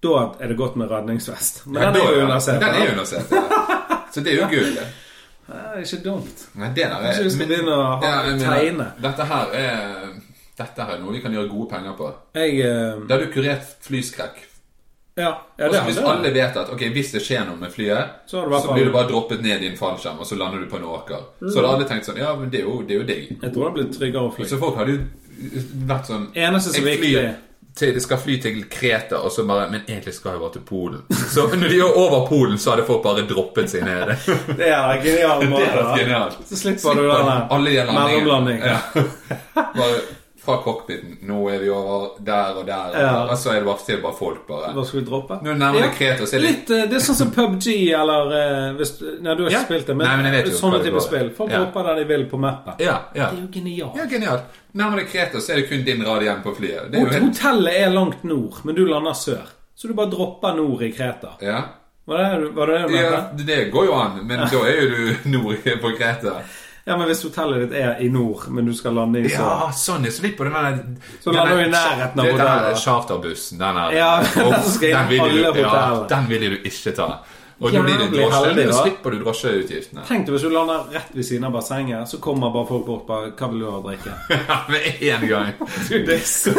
S1: da er det godt med redningsvest. Men
S2: Ja,
S1: den
S2: da,
S1: er jo
S2: ja.
S1: under
S2: Den er jo
S1: setet.
S2: under setet. ja. Så det er jo gull. det.
S1: Det er ikke dumt.
S2: Nei, det der
S1: Kanskje vi skal begynne å ha-
S2: Eh, jeg mener,
S1: tegne.
S2: Dette her er Dette her er noe vi kan gjøre gode penger på.
S1: Jeg eh,
S2: Da har du kurert flyskrekk.
S1: Ja, ja det
S2: Altså, hvis
S1: hadde
S2: alle vet at ok, hvis det skjer noe med flyet,
S1: Så
S2: så,
S1: har du Mm. i hvert fall-
S2: blir du bare droppet ned i en fallskjerm, og så lander du på en åker. Så hadde alle tenkt sånn Ja, men det er jo, det er jo digg.
S1: Jeg tror det blir tryggere å fly.
S2: Så folk hadde jo vært sånn
S1: Eneste
S2: Altså,
S1: som er
S2: jeg flyr
S1: viktig-
S2: til, jeg skal fly til Kreta, og så bare Men egentlig skal jeg bare til Polen. Så når de er over Polen, så hadde folk bare droppet seg
S1: <laughs>
S2: ned.
S1: Det er
S2: <laughs>
S1: en genial
S2: Det hadde
S1: måte.
S2: vært
S1: da.
S2: genialt.
S1: Så slipper du den der
S2: Alle de landingene.
S1: mellomlandingen.
S2: Bare fra cockpiten. Nå er vi over der og der, og, der.
S1: Ja.
S2: og så er det bare til bare folk, bare.
S1: Hva skal vi droppe?
S2: Nå nærmer det
S1: Ja.
S2: Kreta, så er det
S1: Litt, eh, det er sånn som PubG eller eh, hvis, Nei, du har ikke
S2: Ja.
S1: spilt det, men,
S2: Nei, men jeg vet jo hva
S1: sånne
S2: det
S1: typer
S2: går i.
S1: spill. Folk
S2: Ja.
S1: dropper der de vil på mappet.
S2: Ja, ja.
S1: Det er jo genialt.
S2: Ja, genialt. Nærmere Kreta så er det kun din rad igjen på flyet. Det er jo
S1: Hot-
S2: helt
S1: Hotellet er langt nord, men du lander sør. Så du bare dropper nord i Kreta.
S2: ja.
S1: Var det du- var det, det du
S2: ja,
S1: mente?
S2: det går jo an, men da er jo du <laughs> nord på Kreta.
S1: Ja, men hvis hotellet ditt er i nord, men du skal lande i sør
S2: Ja, sånn. Jeg slipper den der
S1: Så lander du i nærheten av
S2: Den der
S1: hotellet.
S2: charterbussen, den er
S1: Ja, <laughs> den skal inn
S2: den vil
S1: alle
S2: du,
S1: hotellene.
S2: den vil du ikke ta. Og da blir det
S1: Jævlig
S2: drosje.
S1: heldig,
S2: Da
S1: da.
S2: slipper du
S1: <laughs>
S2: drosjeutgiftene.
S1: Tenk deg hvis du lander rett ved siden av bassenget, så kommer bare folk bort på hva vil du ha å drikke.
S2: <laughs> Ja, Med én gang. Det er så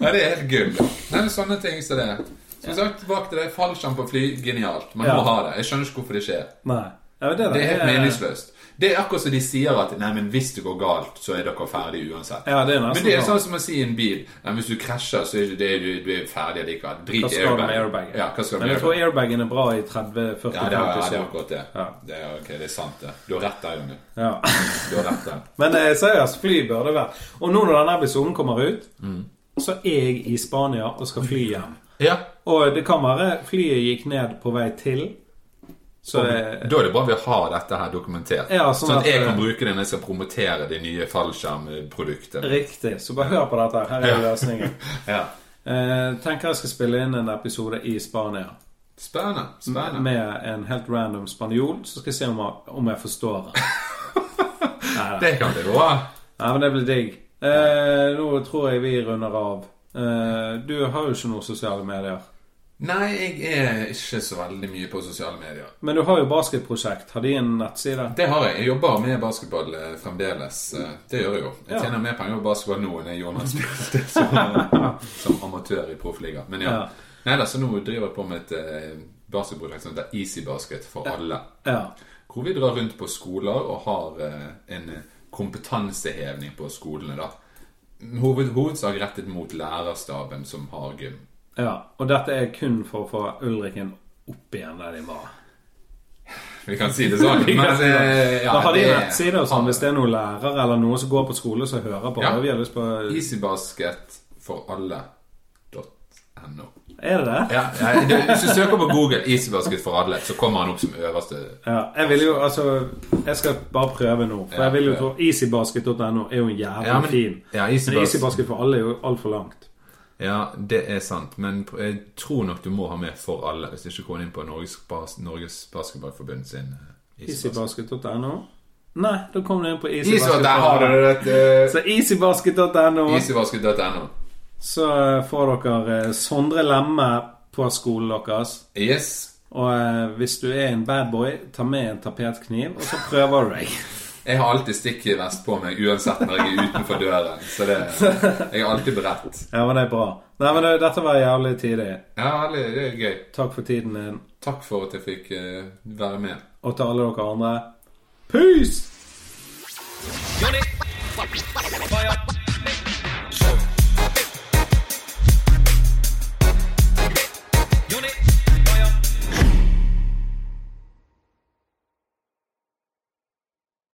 S2: Nei, det er helt gull. Nei, men sånne ting som det. Som sagt, bak til det. Fallskjerm på fly, genialt. Man
S1: Ja.
S2: må ha det. Jeg skjønner ikke hvorfor det skjer.
S1: Nei. Ja, men det,
S2: Det er helt meningsløst. Det er akkurat som de sier at Nei, men hvis det går galt, så er dere ferdige uansett.
S1: Ja, det er nesten
S2: men det er
S1: sånn.
S2: sånn som å si i en bil Nei, hvis du krasjer, så er ikke det du, du er ferdig likevel.
S1: Hva
S2: Drit i
S1: skal du med
S2: airbag.
S1: airbagen?
S2: Ja, hva skal du
S1: Men
S2: med
S1: jeg tror
S2: airbag?
S1: airbagen er bra i 30-40-50
S2: Ja, det er, ja, det er
S1: år.
S2: akkurat det.
S1: Ja.
S2: Det er, ok, det er sant, det. Du har rett der, Jonny.
S1: Ja. <laughs>
S2: Du har rett der.
S1: Men eh, seriøst, fly bør det være. Og nå når denne episoden kommer ut, så er jeg i Spania og skal fly hjem.
S2: Ja.
S1: Og det kan være flyet gikk ned på vei til. Så eh,
S2: Da er det bra vi har dette her dokumentert.
S1: Ja, sånn
S2: sånn, at,
S1: at,
S2: jeg
S1: eh,
S2: kan bruke det når jeg skal promotere de nye fallskjermproduktet.
S1: riktig. Så bare hør på dette. her. Her er løsningen.
S2: Ja.
S1: Eh, tenker jeg skal spille inn en episode i Spania
S2: Spennende. Spennende.
S1: med en helt random spanjol. Så skal jeg se om jeg, om jeg forstår det.
S2: Det kan bli bra.
S1: Nei, men det blir digg. Eh, nå tror jeg vi runder av. Eh, du har jo ikke noen sosiale medier.
S2: Nei, jeg er ikke så veldig mye på sosiale medier.
S1: Men du har jo basketprosjekt. Har de en nettside?
S2: Det har jeg. Jeg jobber med basketball eh, fremdeles. Eh, Det gjør jeg jo. Jeg
S1: Ja.
S2: tjener mer penger på basketball nå enn jeg gjorde da jeg spilte
S1: <laughs>
S2: som, som amatør i proffliga. Men ja.
S1: Ja.
S2: Nei da, så nå driver jeg på med et eh, basketprosjekt som heter Easy Basket for alle.
S1: Ja.
S2: Hvor vi drar rundt på skoler og har eh, en kompetansehevning på skolene, da. Hoved, hovedsak rettet mot lærerstaben som har gym.
S1: Ja, og dette er kun for å få Ulriken opp igjen der de var.
S2: Vi kan si det
S1: <laughs>
S2: sånn. <laughs> men, eh, ja,
S1: da har de
S2: det-
S1: nettsider og sånn, hvis det er noen lærere eller noen som går på skole som hører på.
S2: Ja.
S1: Ja. Vi har lyst på
S2: Easybasket for alle.no.
S1: Er det det?
S2: Ja, ja, det- Hvis du søker på Google 'isbasket for alle', så kommer han opp som øverste.
S1: Ja, jeg vil jo, altså Jeg skal bare prøve nå. For
S2: Ja,
S1: jeg vil jo tro
S2: prøv.
S1: Easybasket.no er jo en jævlig
S2: Ja, men-
S1: fin.
S2: ja,
S1: men
S2: Easybasket-
S1: Easybasket for alle er jo altfor langt.
S2: Ja, det er sant, men pr- jeg tror nok du må ha med 'for alle' hvis du ikke går inn på Norges, bas Norges Basketballforbund sin eh, isbasket.
S1: Easybasket.no? Nei, da kom det inn på
S2: Isbasket,
S1: Easybasket.
S2: der har du dette!
S1: Så easybasket.no,
S2: Isbasket.no.
S1: så eh, får dere eh, Sondre Lemme på skolen deres.
S2: Yes.
S1: Og eh, hvis du er en badboy, ta med en tapetkniv, og så prøver du deg. <laughs>
S2: Jeg har alltid stikkvest på meg uansett når jeg er utenfor døren. Så det, jeg er alltid beredt.
S1: Ja, men det er bra. Nei, men det, dette var jævlig tidlig.
S2: Ja, herlig, det er gøy.
S1: Takk for tiden din,
S2: Takk for at jeg fikk eh, være med.
S1: og til alle dere andre. Peace!
S3: Fire.